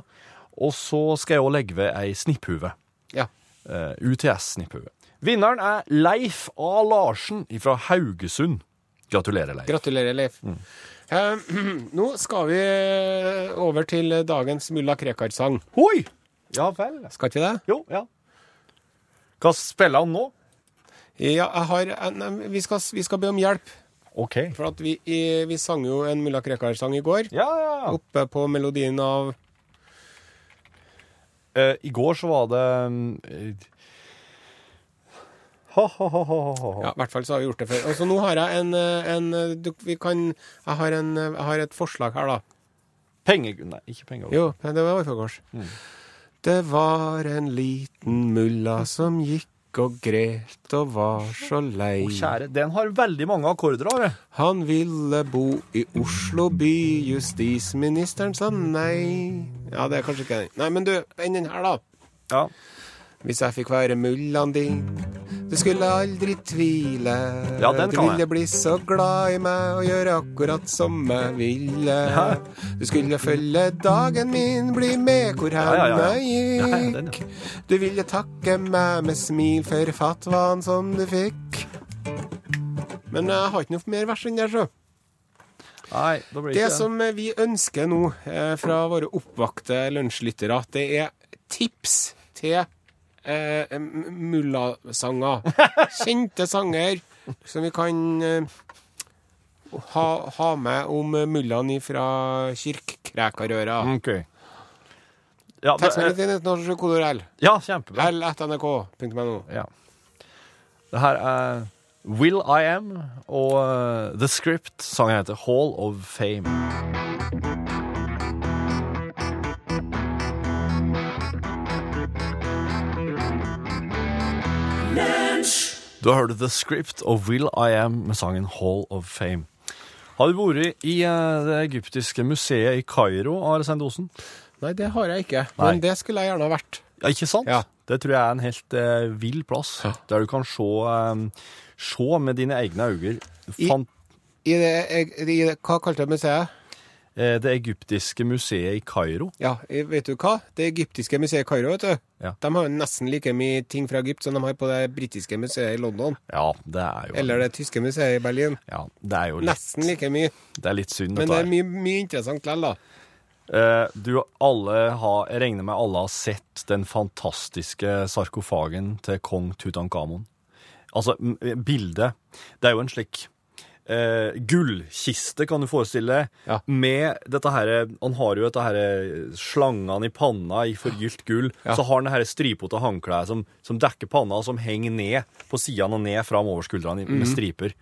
Speaker 1: Og så skal jeg òg legge ved ei snipphue.
Speaker 2: ja.
Speaker 1: Eh, UTS-snipphue. Vinneren er Leif A. Larsen fra Haugesund. Gratulerer, Leif.
Speaker 2: Gratulerer, Leif.
Speaker 1: Mm.
Speaker 2: Eh, nå skal vi eh, over til dagens mulla Krekar-sang.
Speaker 1: Oi! Ja vel.
Speaker 2: Skal ikke vi det?
Speaker 1: Jo, ja. Hva spiller han nå?
Speaker 2: Ja, jeg har, eh, nei, vi, skal, vi skal be om hjelp.
Speaker 1: OK.
Speaker 2: For at vi, i, vi sang jo en Mulla Krekar-sang i går.
Speaker 1: Ja, ja, ja.
Speaker 2: Oppe på melodien av
Speaker 1: Eh, I går så var det mm, eh, Ha-ha-ha-ha.
Speaker 2: Ja, i hvert fall så har vi gjort det før. Og så nå har jeg en, eh, en eh, du, vi kan, jeg, har en, eh, jeg har et forslag her, da.
Speaker 1: Penge... Nei, ikke penger.
Speaker 2: Jo, Mm. men det var Orfagårds. Det var en liten mulla som gikk og gret og var så lei.
Speaker 1: Kjære, den har veldig mange akkorder av det.
Speaker 2: Han ville bo i Oslo by, justisministeren sa nei. Ja, det er kanskje ikke den. Nei, men du, enn den her, da.
Speaker 1: Ja.
Speaker 2: Hvis jeg fikk være mullaen din, du skulle aldri tvile.
Speaker 1: Ja, den
Speaker 2: du
Speaker 1: kan jeg.
Speaker 2: ville bli så glad i meg og gjøre akkurat som jeg ville. Du skulle følge dagen min, bli med hvor hen
Speaker 1: ja, ja.
Speaker 2: jeg
Speaker 1: Ja, ja,
Speaker 2: gikk.
Speaker 1: den, ja.
Speaker 2: Du ville takke meg med smil for fatwaen som du fikk. Men jeg har ikke noe mer vers enn det, så.
Speaker 1: Nei, da blir det
Speaker 2: Det
Speaker 1: ikke
Speaker 2: som vi ønsker nå eh, fra våre oppvakte lunsjlyttere, det er tips til eh, m- mullasanger. Kjente sanger som vi kan eh, ha, ha med om mullaen fra Kirkkrækarøra.
Speaker 1: OK. Ja, det,
Speaker 2: Tekstmelding til 1987 kodord L.
Speaker 1: ja kjempebra.
Speaker 2: L1nrk.no.
Speaker 1: Ja. Det her er Will I Am og eh, The Script. Sangen heter Hall of Fame. Du har hørt The Script og Will I Am med sangen Hall of Fame. Har du vært i eh, det egyptiske museet i Kairo, Are Sendosen?
Speaker 2: Nei, det har jeg ikke.
Speaker 1: Nei.
Speaker 2: Men det skulle jeg gjerne ha vært.
Speaker 1: Ja, ikke sant?
Speaker 2: Ja.
Speaker 1: Det tror jeg er en helt eh, vill plass, der du kan se, eh, se med dine egne øyne fan-
Speaker 2: I det, i det, hva kalte jeg museet?
Speaker 1: eh, det egyptiske museet i Kairo.
Speaker 2: Ja, eh, vet du hva? Det egyptiske museet i Kairo, vet du.
Speaker 1: Ja.
Speaker 2: De har jo nesten like mye ting fra Egypt som de har på det britiske museet i London.
Speaker 1: Ja, det er jo,
Speaker 2: Eller det tyske museet i Berlin.
Speaker 1: ja, det er jo litt,
Speaker 2: Nesten like mye.
Speaker 1: det er litt synd,
Speaker 2: Men det
Speaker 1: dette
Speaker 2: er
Speaker 1: her.
Speaker 2: mye, mye interessant likevel, da.
Speaker 1: Eh, du, alle har, jeg regner med alle har sett den fantastiske sarkofagen til kong Tutankhamon. Altså, m- bildet Det er jo en slik eh, gullkiste, kan du forestille deg,
Speaker 2: Ja.
Speaker 1: med dette her Han har jo dette her slangene i panna i forgylt gull.
Speaker 2: Ja.
Speaker 1: Så har han det her stripete håndkleet som, som dekker panna, og som henger ned på sidene og ned fram over skuldrene i- med
Speaker 2: Mhm.
Speaker 1: striper.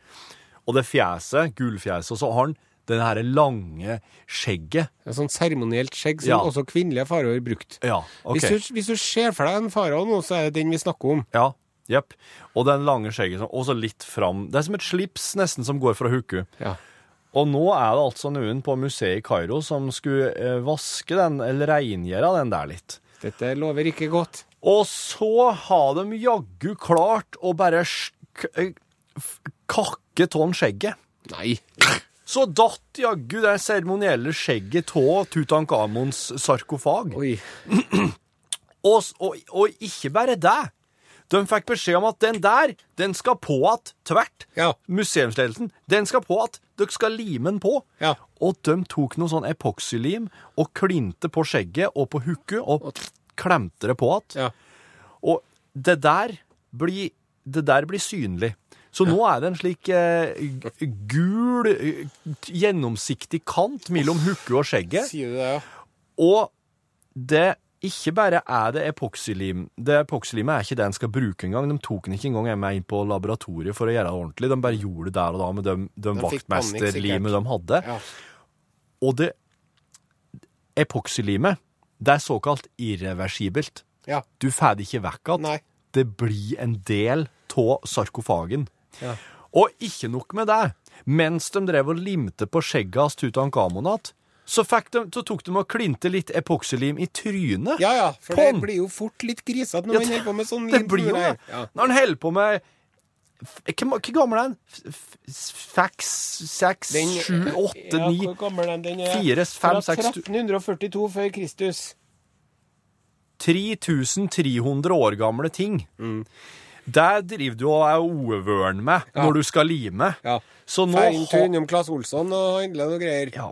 Speaker 1: Og det fjeset, gullfjeset, og så har han det her lange skjegget.
Speaker 2: Et sånt sånn seremonielt skjegg som
Speaker 1: Ja.
Speaker 2: også kvinnelige faraoer brukte.
Speaker 1: Ja, ok.
Speaker 2: Hvis, du, hvis du ser for deg en farao nå, så er det den vi snakker om.
Speaker 1: Ja, jepp. Og den lange skjegget, som- og så litt fram. Det er som et slips nesten som går fra hukku.
Speaker 2: Ja.
Speaker 1: Og nå er det altså noen på museet i Kairo som skulle eh, vaske den, eller rengjøre den der litt.
Speaker 2: Dette lover ikke godt.
Speaker 1: Og så har de jaggu klart å bare sk- eh, f- kakke tå'n skjegget.
Speaker 2: Nei.
Speaker 1: Så datt jaggu det seremonielle skjegget tå Tutankhamons sarkofag.
Speaker 2: Oi.
Speaker 1: Og, s- og, og ikke bare det. De fikk beskjed om at den der, den skal på at tvert.
Speaker 2: Ja.
Speaker 1: Museumsledelsen, den skal på at dere skal lime den på.
Speaker 2: Ja.
Speaker 1: Og de tok noe sånn epoksylim og klinte på skjegget og på hukket og klemte det på at.
Speaker 2: Ja.
Speaker 1: Og det der blir, det der blir synlig. Så nå er det en slik eh, g- gul, eh, gjennomsiktig kant mellom hukket og skjegget.
Speaker 2: Sier du det, ja?
Speaker 1: Og det ikke bare er det epoksylim. Det epoksylimet er ikke det en skal bruke engang. De tok den ikke engang med inn på laboratoriet for å gjøre det ordentlig. De bare gjorde det der og da med de, de
Speaker 2: fikk panikk,
Speaker 1: vaktmesterlimet de hadde.
Speaker 2: Ja.
Speaker 1: Og det epoksylimet, det er såkalt irreversibelt.
Speaker 2: ja.
Speaker 1: Du får det ikke vekk igjen.
Speaker 2: Nei.
Speaker 1: Det blir en del av sarkofagen.
Speaker 2: Ja.
Speaker 1: Og ikke nok med det. Mens de drev og limte på skjegget hans Tutankhamon igjen, så, fikk de- så tok de og klinte litt epoksylim i trynet.
Speaker 2: Ja ja, for
Speaker 1: Pom!
Speaker 2: det blir jo fort litt grisete når
Speaker 1: Ja,
Speaker 2: man
Speaker 1: det-
Speaker 2: holder på med sånn
Speaker 1: Det
Speaker 2: lim som
Speaker 1: blir jo
Speaker 2: der.
Speaker 1: det. Når han holder på med Hvor hvor gammel er han? F- f- Seks, seks,
Speaker 2: Den-
Speaker 1: sju, åtte,
Speaker 2: Ja,
Speaker 1: ni
Speaker 2: hvor gammel er den? Den er
Speaker 1: fire, fem,
Speaker 2: fra
Speaker 1: seks, tu-
Speaker 2: 1342 før Kristus.
Speaker 1: 3300 år gamle ting.
Speaker 2: Mm.
Speaker 1: Der driver du og er ovørn med når du skal lime.
Speaker 2: Ja.
Speaker 1: Så nå
Speaker 2: Feil tur
Speaker 1: har-
Speaker 2: innom Claes Olsson og handle noe greier.
Speaker 1: Ja.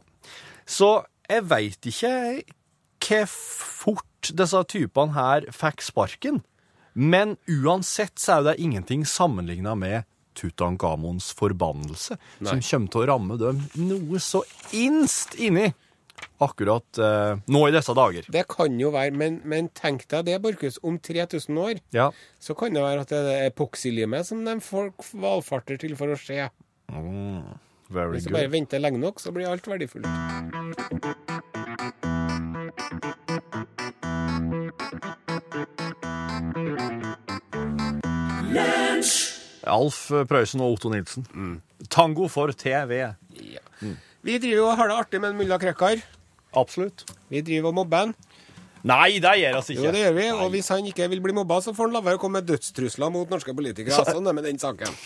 Speaker 1: Så jeg veit ikke hvor fort disse typene her fikk sparken. Men uansett så er jo det ingenting sammenligna med Tutankhamons forbannelse, som kommer til å ramme dem noe så innst inni akkurat eh, nå i disse dager.
Speaker 2: Det kan jo være, men, men tenk deg det, Borchhus. Om 3000 år
Speaker 1: Ja.
Speaker 2: så kan det være at det er epoksilimet som de folk valfarter til for å se.
Speaker 1: Very
Speaker 2: Hvis du bare
Speaker 1: good.
Speaker 2: venter lenge nok, så blir alt verdifullt.
Speaker 1: Alf Prøysen og Otto Nilsen. Tango for TV.
Speaker 2: Ja. Vi driver jo og har det artig med en mulla Krekar.
Speaker 1: Absolutt.
Speaker 2: Vi driver og mobber han.
Speaker 1: Nei, det gjør oss
Speaker 2: Jo,
Speaker 1: ikke.
Speaker 2: det gjør vi. Og hvis han ikke vil bli mobba, så får han la være å komme med dødstrusler mot norske politikere. Sånn er det med den saken.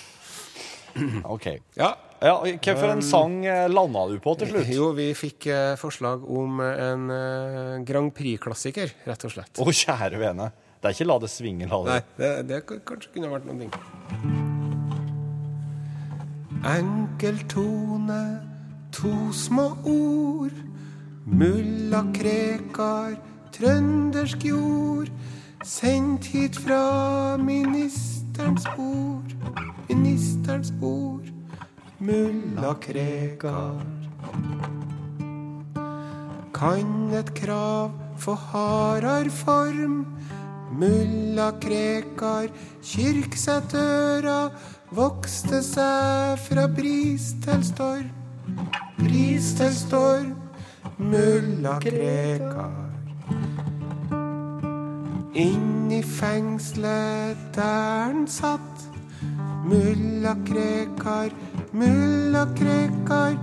Speaker 1: Ok.
Speaker 2: Ja.
Speaker 1: Ja, Hva for
Speaker 2: Um,
Speaker 1: en sang eh, landa du på til slutt?
Speaker 2: Jo, vi fikk eh, forslag om en eh, Grand Prix-klassiker, rett og slett.
Speaker 1: Å, kjære vene. Det er ikke La det svinge, la det
Speaker 2: Nei, det, det k- kanskje kunne vært noen ting. Enkel tone, to små ord. Mulla Krekar, trøndersk jord. Sendt hit fra ministerens bord. Ministerens bord, mulla Krekar. Kan et krav få hardere form? Mulla Krekar, kirksætøra, vokste seg fra bris til storm. Bris til storm, mulla Krekar. Inn i fengselet der han satt. Mulla Krekar, mulla Krekar.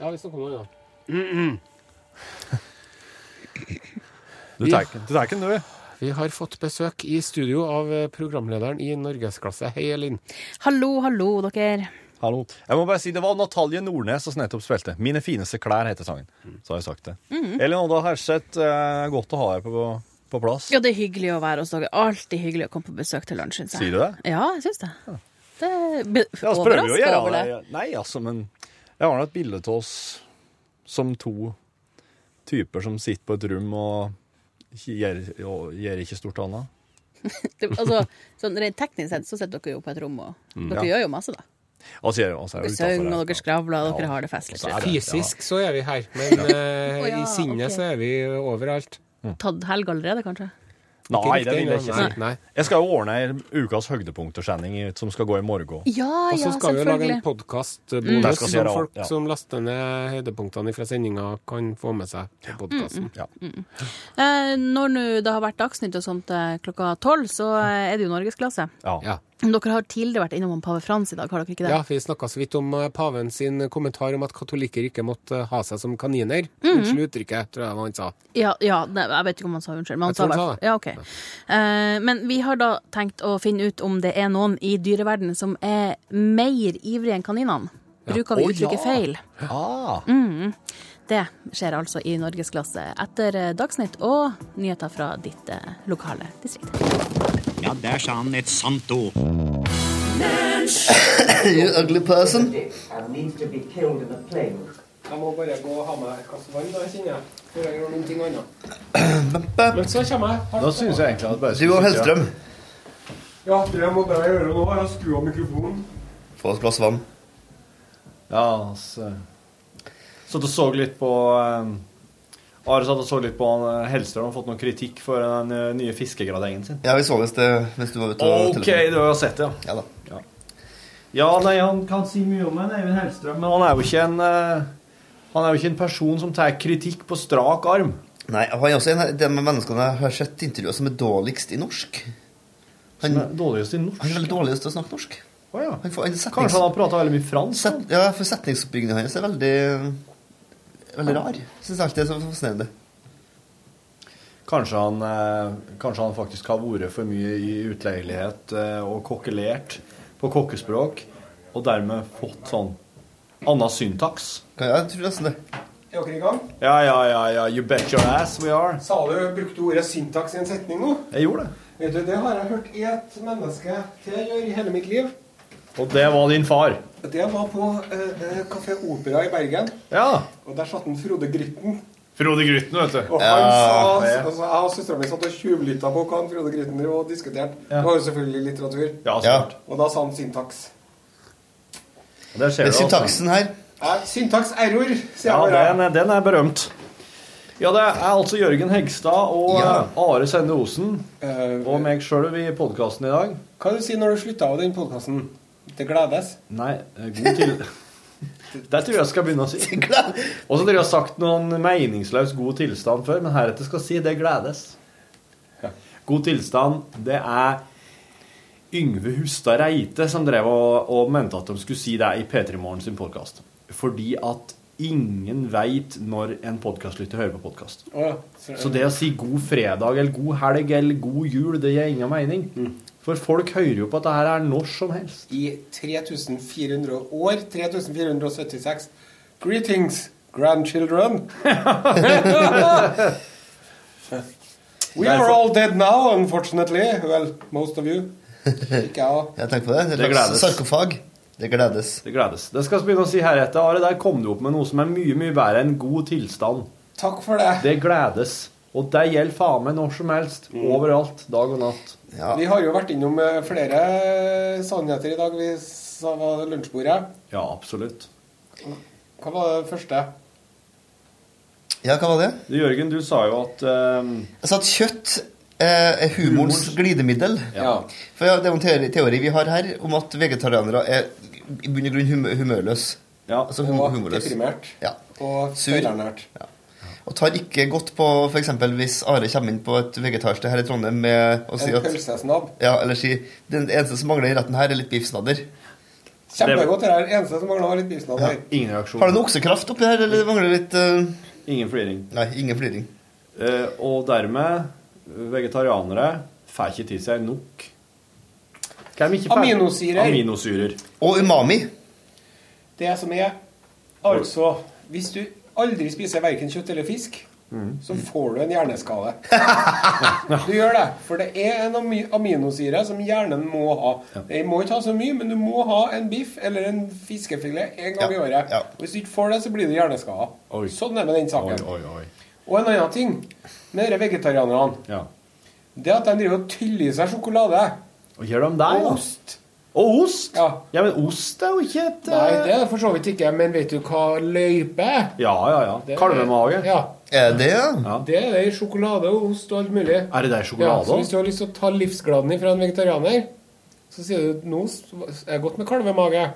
Speaker 2: Ja, vi snakker om det, da.
Speaker 1: Du tar ikke du tar ikke den, du.
Speaker 2: Vi har fått besøk i studio av eh, programlederen i Norgesklasse. Hei, Elin.
Speaker 5: Hallo, hallo, dere.
Speaker 1: Hallo. Jeg må bare si, Det var Natalie Nordnes som nettopp spilte. 'Mine fineste klær' heter sangen. Så har jeg sagt det. Elin Odda Herseth, eh, godt å ha deg på, på plass.
Speaker 5: Ja, det er hyggelig å være hos dere. Alltid hyggelig å komme på besøk til lunsj, syns jeg.
Speaker 1: Sier du det?
Speaker 5: Ja, jeg syns det. Det er be-
Speaker 1: Ja, altså, prøver jo å
Speaker 5: overrasket
Speaker 1: gjøre
Speaker 5: over
Speaker 1: det. Nei, altså, men jeg har nå et bilde av oss som to typer som sitter på et rom og ikke gjør, og gjør ikke stort annet.
Speaker 5: det. Altså, sånn rent teknisk sett så sitter dere jo på et rom, og dere
Speaker 1: Mm. Ja.
Speaker 5: gjør jo masse, da.
Speaker 1: Altså, jeg, altså,
Speaker 5: Dere
Speaker 1: jeg er
Speaker 5: synger,
Speaker 1: utenfor
Speaker 5: og
Speaker 1: her.
Speaker 5: dere skravler, og
Speaker 1: Ja.
Speaker 5: dere har det festlig.
Speaker 1: Og så er det-
Speaker 2: Fysisk så er vi her, men eh,
Speaker 5: Å ja,
Speaker 2: i sinnet
Speaker 5: ok.
Speaker 2: så er vi overalt.
Speaker 5: Tatt helg allerede, kanskje?
Speaker 1: Nei, det vil jeg
Speaker 2: Riktig,
Speaker 1: ikke
Speaker 2: nei,
Speaker 1: si.
Speaker 2: nei.
Speaker 1: Jeg skal jo ordne ei ukas høydepunktersending i- som skal gå i morgen.
Speaker 5: Ja,
Speaker 2: Og så
Speaker 5: ja,
Speaker 2: skal vi jo lage en
Speaker 5: selvfølgelig.
Speaker 1: Mm. Det
Speaker 2: podkastbonus
Speaker 1: skal vi
Speaker 2: som
Speaker 1: gjøre,
Speaker 2: folk
Speaker 1: ja.
Speaker 2: som laster ned høydepunktene fra sendinga, kan få med seg på podkasten.
Speaker 1: Ja. Mm,
Speaker 5: Eh, når nå det har vært Dagsnytt og sånt eh, klokka tolv, så eh, er det jo norgesklasse.
Speaker 1: Ja.
Speaker 2: Ja.
Speaker 5: Dere har tidligere vært innom Pave Frans i dag, har dere ikke det?
Speaker 2: ja, vi snakka så vidt om eh, paven sin kommentar om at katolikker ikke måtte eh, ha seg som kaniner.
Speaker 5: Mm.
Speaker 2: Unnskyld uttrykket, tror jeg hva han sa.
Speaker 5: Ja, ja nei, jeg vet ikke om han sa unnskyld. Men han
Speaker 2: Jeg tror
Speaker 5: sa,
Speaker 2: han
Speaker 5: hvert-
Speaker 2: sa det.
Speaker 5: Ja, ok. Eh, men vi har da tenkt å finne ut om det er noen i dyreverdenen som er mer ivrige enn kaninene. Bruker vi
Speaker 1: Å, ja.
Speaker 5: uttrykket feil?
Speaker 1: Ah,
Speaker 5: Det skjer altså i Norgesklasse etter eh, Dagsnytt og nyheter fra ditt eh, lokale distrikt.
Speaker 6: Ja, der sa han et sant ord.
Speaker 7: you ugly person.
Speaker 8: and needs to be killed in a plague
Speaker 7: Jeg må bare gå og ha meg et glass vann, da, kjenner jeg. Før jeg gjør noen ting annet. Men så kommer jeg. Har-
Speaker 9: Da syns jeg egentlig at bare
Speaker 8: Du og Hellstrøm,
Speaker 7: Ja, det må bare gjøre nå. Jeg har skru av mikrofonen.
Speaker 8: få et glass vann.
Speaker 1: Ja, altså Satt og så litt på eh, Are satt og så litt på han eh, Hellstrøm og fått noen kritikk for den eh, nye fiskegradengen sin.
Speaker 8: Ja, vi så visst det mens du var ute og
Speaker 1: OK, du har jo sett det, ja.
Speaker 8: Ja da.
Speaker 1: Ja, nei, han kan si mye om en Eivind Hellstrøm, men han er jo ikke en eh, Han er jo ikke en person som tar kritikk på strak arm.
Speaker 8: Nei, han er også en av de menneskene jeg har sett intervjuer som er dårligst i norsk. Han,
Speaker 1: Som er dårligst i norsk.
Speaker 8: han er veldig dårligst til å snakke norsk.
Speaker 1: Å, ja.
Speaker 8: Han får, en setnings,
Speaker 1: Kanskje han har prata veldig mye fransk?
Speaker 8: set, ja, for setningsoppbyggingen hans er veldig Veldig rar. Syns alltid det er så fascinerende.
Speaker 1: Kanskje han, eh, kanskje han faktisk har vært for mye i utleilighet eh, og kokkelert på kokkespråk, og dermed fått sånn anna syntaks?
Speaker 8: Kan- Ja, jeg tror nesten det.
Speaker 7: Er dere i gang?
Speaker 1: Ja, ja, ja, ja, you bet your ass we are.
Speaker 7: Sa du brukte ordet syntax i en setning nå?
Speaker 1: Jeg gjorde det.
Speaker 7: Vet du, Det har jeg hørt ett menneske til gjøre i hele mitt liv.
Speaker 1: Og det var din far.
Speaker 7: Det var på eh, Kafé Opera i Bergen.
Speaker 1: Ja.
Speaker 7: Og der satt en Frode Grytten.
Speaker 10: Frode Grytten, vet du.
Speaker 7: Og han
Speaker 8: Ja,
Speaker 7: sa,
Speaker 1: ja.
Speaker 7: altså, jeg og søstera mi satt og tjuvlytta på hva han Frode Grytten drev og diskuterte.
Speaker 1: Ja.
Speaker 7: Det var jo selvfølgelig litteratur.
Speaker 1: Ja, smart.
Speaker 7: Og da sa han syntaks.
Speaker 1: Der ser
Speaker 8: Men
Speaker 1: du altså.
Speaker 8: syntaksen her
Speaker 7: Ja, Eh, Syntaks error, sier
Speaker 1: Ja,
Speaker 7: jeg
Speaker 1: den
Speaker 7: bare.
Speaker 1: er, den er berømt. Ja, det er altså Jørgen Hegstad og
Speaker 8: Ja.
Speaker 1: eh, Are Sende Osen
Speaker 7: Eh,
Speaker 1: og meg sjøl i podkasten i dag.
Speaker 7: Hva du sier når du slutta av den podkasten? Det gledes.
Speaker 1: Nei, eh, god til... Der tror jeg jeg skal begynne å si.
Speaker 8: glad-
Speaker 1: Og så tror jeg jeg har sagt noen meningsløs god tilstand før, men heretter skal jeg si det gledes. God tilstand, det er Yngve Hustad Reite som drev og, og mente at de skulle si det i P3 Morgen sin podkast. Fordi at ingen veit når en podkastlytter hører på podkast.
Speaker 7: Å ja. Så-
Speaker 1: Så det å si god fredag eller god helg eller god jul, det gir ingen mening. For folk hører jo på at det her er når som helst.
Speaker 7: I 3400 år 3476 Greetings, grandchildren. We are all dead now, unfortunately. Well, most of you. Ikke jeg òg.
Speaker 8: Jeg tenker på det. Det
Speaker 1: Det
Speaker 8: er slags
Speaker 1: gledes.
Speaker 8: sarkofag. Det gledes.
Speaker 1: Det gledes. Det skal vi begynne å si heretter. Are, der kom du opp med noe som er mye, mye bedre enn god tilstand.
Speaker 7: Takk for det.
Speaker 1: Det gledes. Og det gjelder faen meg når som helst. Overalt. Dag og natt.
Speaker 8: Ja.
Speaker 7: Vi har jo vært innom eh, flere eh, sannheter i dag. Vi sa var det lunsjbordet.
Speaker 1: Ja, absolutt.
Speaker 7: Hva var det første?
Speaker 8: ja, hva var det?
Speaker 1: Du, Jørgen, du sa jo at ehm,
Speaker 8: Jeg sa at kjøtt eh, er humorens glidemiddel.
Speaker 7: Ja.
Speaker 8: For ja, Det er jo en teori, teori vi har her om at vegetarianere er i bunn og grunn hum humørløse.
Speaker 1: Ja.
Speaker 8: Altså hum
Speaker 7: Og
Speaker 8: humorløse.
Speaker 7: deprimert.
Speaker 8: Ja.
Speaker 7: Og
Speaker 8: Sur.
Speaker 7: feilernært.
Speaker 8: Og tar ikke godt på f.eks. hvis Are kommer inn på et vegetarsted her i Trondheim med å si
Speaker 7: En
Speaker 8: at
Speaker 7: pølsesnabb.
Speaker 8: ja, eller si, Den eneste som mangler i retten her, er litt biffsnadder.
Speaker 7: Kjempegodt. Det er det eneste som mangler, var litt biffsnadder.
Speaker 1: Ingen reaksjon.
Speaker 8: Har du noe oksekraft oppi her, eller mangler litt eh,
Speaker 1: Ingen fliring.
Speaker 8: Nei, ingen fliring.
Speaker 1: Eh, og dermed, vegetarianere får ikke til seg nok Hvem ikke får-
Speaker 7: Aminosyrer.
Speaker 1: Aminosyrer.
Speaker 8: Og umami.
Speaker 7: Det som er Altså, hvis du aldri spiser verken kjøtt eller fisk,
Speaker 1: Mm.
Speaker 7: så får du en hjerneskade. Du gjør det. For det er en ami aminosyre som hjernen må ha. Den må ikke ha så mye, men du må ha en biff eller en fiskefilet en gang i
Speaker 8: Ja,
Speaker 7: året.
Speaker 8: ja.
Speaker 7: Hvis du ikke får det, så blir du hjerneskada.
Speaker 1: Oi.
Speaker 7: Sånn er det med
Speaker 1: Oi,
Speaker 7: den saken.
Speaker 1: oi, oi.
Speaker 7: Og en annen ting med dere vegetarianerne,
Speaker 1: Ja.
Speaker 7: det er at de driver og tyller i seg sjokolade.
Speaker 1: Og gjør de det?
Speaker 7: Og
Speaker 1: da?
Speaker 7: ost.
Speaker 1: Og ost?
Speaker 7: Ja.
Speaker 1: men ost er jo ikke et
Speaker 7: Nei,
Speaker 1: eh,
Speaker 7: det er det for så vidt ikke, men vet du hva løype er?
Speaker 1: Ja, ja, ja.
Speaker 7: Det er-
Speaker 1: Kalvemage.
Speaker 7: Ja.
Speaker 8: Er det ja?
Speaker 7: Det er det i sjokolade og ost og alt mulig.
Speaker 1: Er det der
Speaker 7: Ja,
Speaker 1: sjokolade
Speaker 7: så
Speaker 1: òg?
Speaker 7: hvis du har lyst til å ta livsgladen ifra en vegetarianer, så sier du nå er det godt med kalvemage.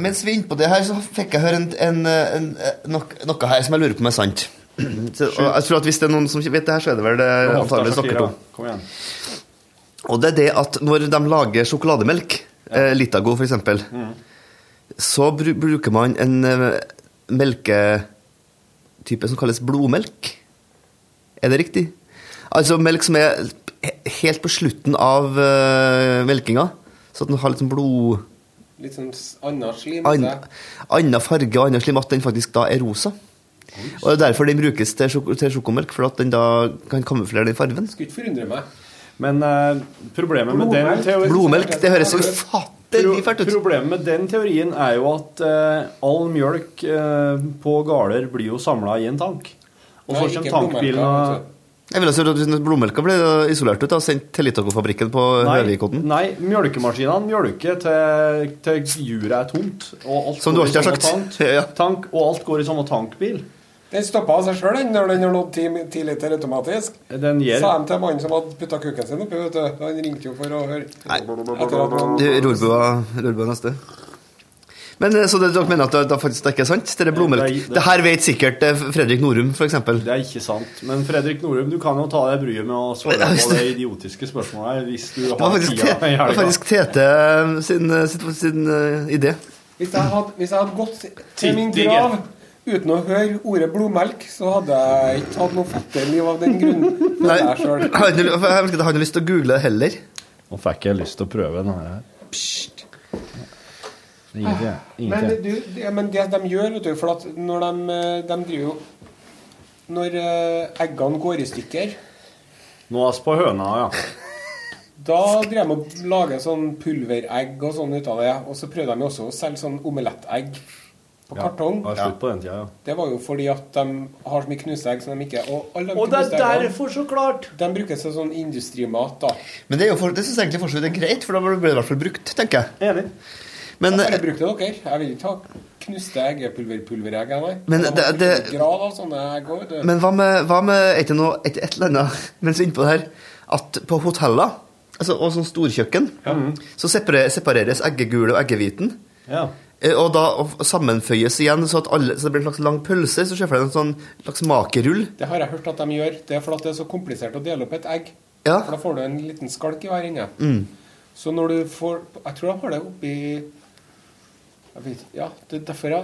Speaker 8: Mens vi er inne på det her, så fikk jeg høre en, en, en, nok, noe her som jeg lurer på om er sant. Så, og jeg tror at Hvis det er noen som ikke vet det her, så er det vel det antakelig dere to.
Speaker 1: Kom igjen.
Speaker 8: Og det er det at når de lager sjokolademelk, eh, Litago for eksempel, så bru bruker man en eh, melketype som kalles blodmelk. Er det riktig? Altså melk som er he- helt på slutten av eh, melkinga, så at den har litt sånn blod...
Speaker 7: Litt sånn s- anna slim.
Speaker 8: Ann-
Speaker 7: det.
Speaker 8: Anna farge og anna slim, at den faktisk da er rosa. Og det er derfor den brukes til, sjok til sjokomelk, for at den da kan kamuflere den fargen.
Speaker 7: Skulle ikke forundre meg.
Speaker 1: Men eh, problemet med den teori-
Speaker 8: Blodmelk, det høres så ufattelig fælt ut.
Speaker 1: Pro problemet med den teorien er jo at eh, all mjølk eh, på gårder blir jo samla i en tank. Og
Speaker 7: Nei,
Speaker 1: så
Speaker 7: ikke
Speaker 1: kommer tankbilen
Speaker 7: blodmelka,
Speaker 1: og
Speaker 7: altså.
Speaker 8: Jeg ville altså at blodmelka ble isolert ut og sendt til Litaco-fabrikken på
Speaker 1: Nei,
Speaker 8: Høvikodden.
Speaker 1: nei mjølkemaskinene mjølker til, til juret er tomt. Og alt
Speaker 8: Som
Speaker 1: går
Speaker 8: du
Speaker 1: i
Speaker 8: alltid har
Speaker 1: samme
Speaker 8: sagt.
Speaker 1: Tank,
Speaker 8: Ja.
Speaker 1: tank, og alt går i samme tankbil.
Speaker 7: Den stoppa av seg sjøl når den har nådd ti, ti liter automatisk.
Speaker 1: Den gjør
Speaker 7: Sa de til mannen som hadde putta kuken sin oppi, vet du. Han ringte jo for å høre.
Speaker 8: Nei.
Speaker 7: Etter at han
Speaker 8: Du, Rorbua, Rorbua neste. Men eh, så det, dere mener at det, det faktisk ikke er sant? Det er blodmelk.
Speaker 1: Nei, det-
Speaker 8: Det her vet sikkert eh, Fredrik Norum, for eksempel.
Speaker 1: Det er ikke sant. Men Fredrik Norum, du kan jo ta deg bryet med å svare
Speaker 8: Nei,
Speaker 1: på
Speaker 8: det-
Speaker 1: det idiotiske spørsmålet her hvis du
Speaker 8: Det var
Speaker 1: har
Speaker 8: faktisk,
Speaker 1: tida i
Speaker 8: det var
Speaker 1: helga.
Speaker 8: faktisk Tete eh, sin, eh, sitt- sin eh, idé.
Speaker 7: Hvis jeg hadde, hvis jeg hadde gått til min
Speaker 1: Tittige.
Speaker 7: grav uten å høre ordet blodmelk, så hadde jeg ikke hatt noe fattig liv av den grunnen.
Speaker 8: Nei,
Speaker 7: Jeg
Speaker 8: jeg har
Speaker 7: selv.
Speaker 8: ikke noe- jeg har ikke noe lyst til å google det heller.
Speaker 1: Nå fikk jeg lyst til å prøve denne her.
Speaker 8: Ah,
Speaker 1: Ingenting.
Speaker 7: Men,
Speaker 1: ingenting.
Speaker 7: du, det- men det de gjør, vet du, for at når de, eh, de driver jo Når eh, eggene går i stykker,
Speaker 1: Nå er vi på høna, ja.
Speaker 7: da drev de og lager sånn pulveregg og sånn ut av det. Og så prøvde de jo også å selge sånn omelettegg på kartong.
Speaker 1: Ja, slutt på den tida, ja.
Speaker 7: Det var jo fordi at de har så mye knuseegg som de ikke Og, alle de knuseeggene,
Speaker 1: så klart
Speaker 7: de brukes til sånn industrimat, da.
Speaker 8: Men det, er jo for- det syns jeg egentlig for så vidt er greit, for da ble det i hvert fall brukt, tenker jeg.
Speaker 1: Enig.
Speaker 8: Men, eh,
Speaker 7: Bare bruk det dere. Jeg vil ikke ha knuste eggepulverpulveregg. Nei.
Speaker 8: Men
Speaker 7: Jeg må
Speaker 8: det- det-
Speaker 7: bruke grad av sånne egg også, vet du.
Speaker 8: men hva med, hva med et, noe, et, et eller annet mens vi er inne på det her, at på hoteller altså, og sånn storkjøkken så separe- separeres eggegule og eggehviten.
Speaker 1: mm. Ja.
Speaker 8: eh, Og da og sammenføyes igjen, så, at alle, så det blir en slags lang pølse. Så ser jeg for deg en sånn slags makerull.
Speaker 7: Det har jeg hørt at de gjør. Det er fordi det er så komplisert å dele opp et egg.
Speaker 8: Ja. Mm.
Speaker 7: For da får du en liten skalk i hver ende. Så når du får Jeg tror jeg har det oppi Jeg vet Ja, det er derfor jeg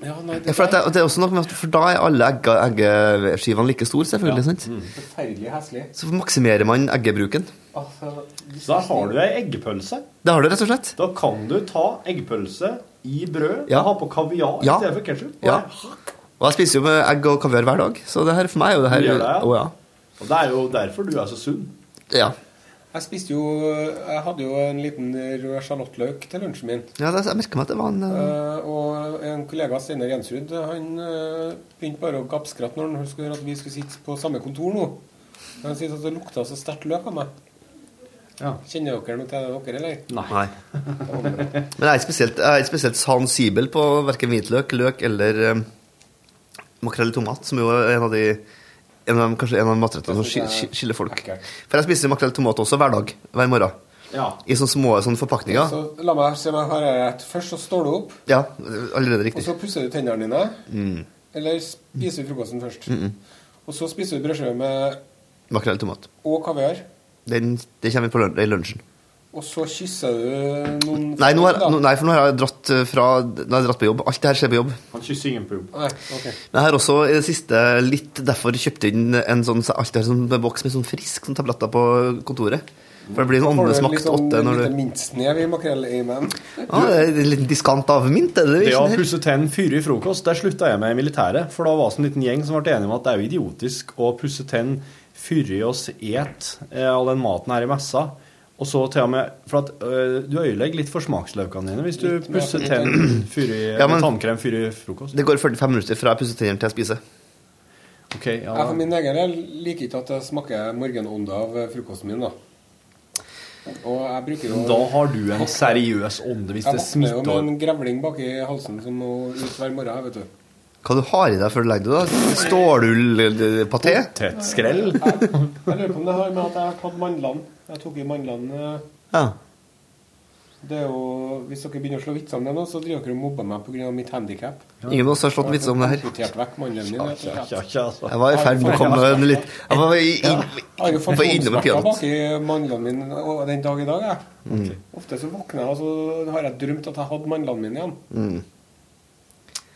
Speaker 7: Ja, nei,
Speaker 8: Ja,
Speaker 7: det
Speaker 8: for, at det,
Speaker 7: er
Speaker 8: og det er også noe med at, for da er alle egge, eggeskivene like store, selvfølgelig. sant?
Speaker 7: Mm. forferdelig heslig.
Speaker 8: Så maksimerer man eggebruken.
Speaker 7: Altså,
Speaker 1: Så da har du ei eggepølse.
Speaker 8: Det har du rett og slett.
Speaker 1: Da kan du ta eggepølse i brød
Speaker 8: Ja.
Speaker 1: og ha på kaviar
Speaker 8: Ja.
Speaker 1: i stedet for ketsjup.
Speaker 8: Ja. Og jeg spiser jo med egg og kaviar hver dag, så det her for meg er jo det her
Speaker 1: Du gjør det, ja?
Speaker 8: Å, ja.
Speaker 1: Og det er jo derfor du er så sunn.
Speaker 8: ja.
Speaker 7: jeg spiste jo Jeg hadde jo en liten rød sjalottløk til lunsjen min.
Speaker 8: Ja, det, jeg merker meg at det var en eh,
Speaker 7: Eh, og en kollega, Steinar Jensrud, han eh, begynte bare å gapskratte når han skulle høre at vi skulle sitte på samme kontor nå. Han syntes at det lukta så sterkt løk av meg.
Speaker 1: Ja.
Speaker 7: Kjenner dere noe til det, dere, eller?
Speaker 8: Nei. Men jeg er ikke spesielt, jeg er ikke spesielt sensibel på verken hvitløk, løk eller eh, makrell i tomat, som jo er en av de en av, de- kanskje en av de matrettene som
Speaker 7: Det synes
Speaker 8: skil-
Speaker 7: jeg er
Speaker 8: skil- skiller folk.
Speaker 7: ekkelt.
Speaker 8: For jeg spiser makrell i tomat også hver dag, hver morgen.
Speaker 1: Ja.
Speaker 8: I sånne små sånne forpakninger.
Speaker 7: Så la meg se om jeg har det rett. Først så står du opp,
Speaker 8: Ja, allerede
Speaker 7: og
Speaker 8: riktig.
Speaker 7: så pusser du tennene dine.
Speaker 8: Mm.
Speaker 7: Eller spiser du frokosten først. Og så spiser du brødskive med
Speaker 8: Makrell i tomat.
Speaker 7: og kaviar.
Speaker 8: Den, det kommer på lun i lunsjen.
Speaker 7: Og så kysser du noen
Speaker 8: Nei, nå har,
Speaker 7: da.
Speaker 8: nå, nei, for nå har jeg dratt eh, fra Nå har jeg dratt på jobb. Alt det her skjer på jobb.
Speaker 1: Han kysser ingen på jobb.
Speaker 7: Nei, ok.
Speaker 8: Men jeg har også i det siste litt derfor kjøpt inn en sånn så alt det her sånn med boks med sånn frisk sånn tabletter på kontoret. For det blir en
Speaker 7: Får du
Speaker 8: åndesmakt
Speaker 7: liksom
Speaker 8: åtte når
Speaker 7: lite
Speaker 8: du
Speaker 7: mintsnev i makrellimen.
Speaker 8: ah, det er En liten diskant av mint, er det
Speaker 1: Det
Speaker 8: det?
Speaker 1: å
Speaker 8: ikke det her?
Speaker 1: pusse tenn fyre i frokost, der slutta jeg med i militæret. For da var det en liten gjeng som ble enige om at det er jo idiotisk å pusse tenn fyre i oss et eh, all den maten her i messa. Og så til og med For at øh, du ødelegger litt for smaksløkene dine hvis du
Speaker 7: mer
Speaker 1: pusser
Speaker 7: for-
Speaker 1: tenn fyre i
Speaker 8: Ja,
Speaker 1: eller
Speaker 8: men-
Speaker 1: tannkrem fyre i frokost.
Speaker 8: Det går 45 minutter fra jeg pusser tennene til jeg spiser.
Speaker 1: Ok, ja.
Speaker 7: Jeg for min egen del liker ikke at jeg smaker morgenånda av eh, frokosten min, da. Og jeg bruker jo
Speaker 1: Da har du en seriøs ånde hvis
Speaker 7: Jeg
Speaker 1: det
Speaker 7: våkner jo
Speaker 1: smitter.
Speaker 7: med en grevling bak i halsen som må ut hver morgen, vet du.
Speaker 8: Hva du har i deg før du legger deg, da? Stålullpaté?
Speaker 1: Potetskrell.
Speaker 7: Jeg, jeg lurer på om det har med at jeg har tatt mandlene. Jeg tok i mandlene eh,
Speaker 8: Ja.
Speaker 7: Det er jo Hvis dere begynner å slå vitser om det nå, så driver dere og mobber meg pga. mitt handikap.
Speaker 8: Ingen av oss har slått vitser om det her.
Speaker 7: Kvotert vekk mandlene mine. rett og slett.
Speaker 1: Ja, ikke, altså.
Speaker 8: Jeg var i ferd med å komme med en litt Jeg var i, i,
Speaker 7: Jeg har jo
Speaker 8: Hva er innom en
Speaker 7: fantonsmerter
Speaker 8: peanøtt?
Speaker 7: bak i mandlene mine og den dag i dag. Jeg.
Speaker 1: Mm.
Speaker 7: Ofte så våkner jeg, og så har jeg drømt at jeg hadde mandlene mine igjen.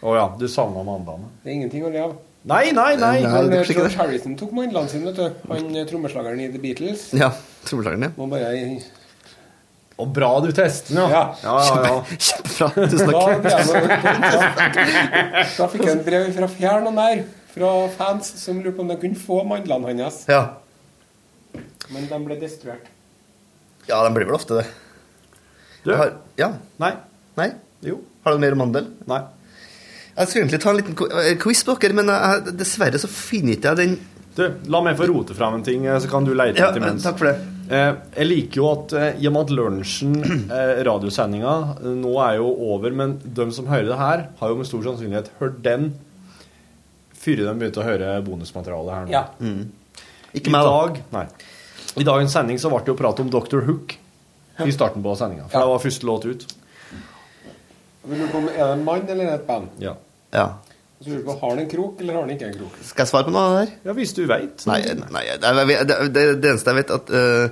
Speaker 1: Å ja, du savna mandagene.
Speaker 7: Det er ingenting å le av.
Speaker 1: Nei, nei, nei!
Speaker 8: Nei,
Speaker 7: Men
Speaker 8: det er
Speaker 7: eh,
Speaker 8: kanskje ikke
Speaker 7: George Harrison tok mandlene sine, vet du. Han eh, trommeslageren i The Beatles.
Speaker 8: Ja. Trommeslageren, ja.
Speaker 7: Må bare
Speaker 1: Og bra du tester den, ja.
Speaker 7: Ja.
Speaker 1: Ja, ja, ja.
Speaker 8: Kjempebra. Tusen
Speaker 7: Da,
Speaker 8: takk.
Speaker 7: ble jeg noe da, da fikk jeg en brev fra fjern og nær fra fans som lurte på om de kunne få mandlene hans.
Speaker 8: Ja.
Speaker 2: men de ble destruert.
Speaker 8: Ja, de blir vel ofte det.
Speaker 1: Du?
Speaker 8: Jeg Har, ja?
Speaker 1: Nei.
Speaker 8: Nei?
Speaker 1: Jo.
Speaker 8: Har du mer om mandel?
Speaker 1: Nei.
Speaker 8: Jeg skulle egentlig ta en liten ko- eh, quiz på dere, men jeg, dessverre så finner ikke jeg den.
Speaker 1: Du, la meg få rote fram en ting, eh, så kan du leite
Speaker 8: Ja,
Speaker 1: litt imens.
Speaker 8: takk for det.
Speaker 1: Eh, jeg liker jo at eh, i og med at lunsjen, eh, radiosendinga, eh, nå er jo over, men de som hører det her, har jo med stor sannsynlighet hørt den før de begynte å høre bonusmaterialet her nå.
Speaker 2: Ja.
Speaker 8: Ikke
Speaker 1: I
Speaker 8: meg, da.
Speaker 1: dag, nei. I dagens sending så ble det jo prat om Dr. Hook i starten på sendinga. For
Speaker 2: Ja.
Speaker 1: det var første låt ut.
Speaker 2: Vi lurer på om Er det en mann eller er det et band?
Speaker 1: Ja,
Speaker 8: Ja.
Speaker 2: Og så lurer vi på, Har den en krok, eller har den ikke en krok?
Speaker 8: Skal jeg svare på noe av det her?
Speaker 1: ja hvis du veit.
Speaker 8: Nei, nei jeg- jeg vet- det, det, det eneste jeg vet, at eh,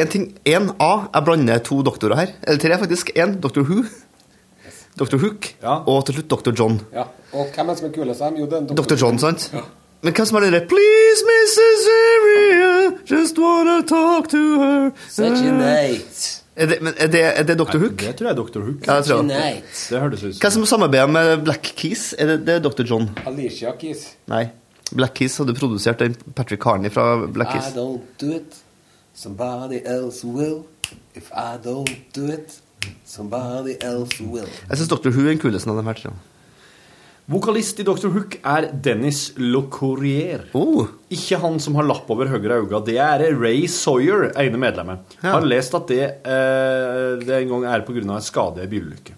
Speaker 8: en ting, en A, jeg blander to doktorer her. Eller tre, faktisk. En, Dr. Who. Dr. Hook.
Speaker 1: Ja.
Speaker 8: Og til slutt Dr. John.
Speaker 2: Ja. Og hvem er det som er kulest av dem? Jo, det er en
Speaker 8: Dr. John, sant? Men hvem som har den der Please, Mrs. Area, just wanna talk to her er det, men er det, er det Dr. Hook?
Speaker 1: Det tror jeg er Dr. Hook.
Speaker 8: Ja, jeg tror det.
Speaker 1: Det hørtes ut
Speaker 8: Hva
Speaker 1: som
Speaker 8: som samarbeider med Black Keys? Er det, det er Dr. John?
Speaker 2: Alicia Keys.
Speaker 8: Nei. Black Keys hadde produsert den Patrick Carney fra Black
Speaker 7: I
Speaker 8: Keys.
Speaker 7: don't do it, somebody else will. If I don't do it, somebody else will.
Speaker 8: Jeg syns Dr. Who er den kuleste av de her tre.
Speaker 1: Vokalist i Dr. Hook er Dennis Locourier.
Speaker 8: Oh,
Speaker 1: Ikke han som har lapp over høyre øye. Det er Ray Sawyer, ene medlemmet.
Speaker 8: Ja.
Speaker 1: Har lest at det, eh, det en gang er pga. en skade i bilulykke.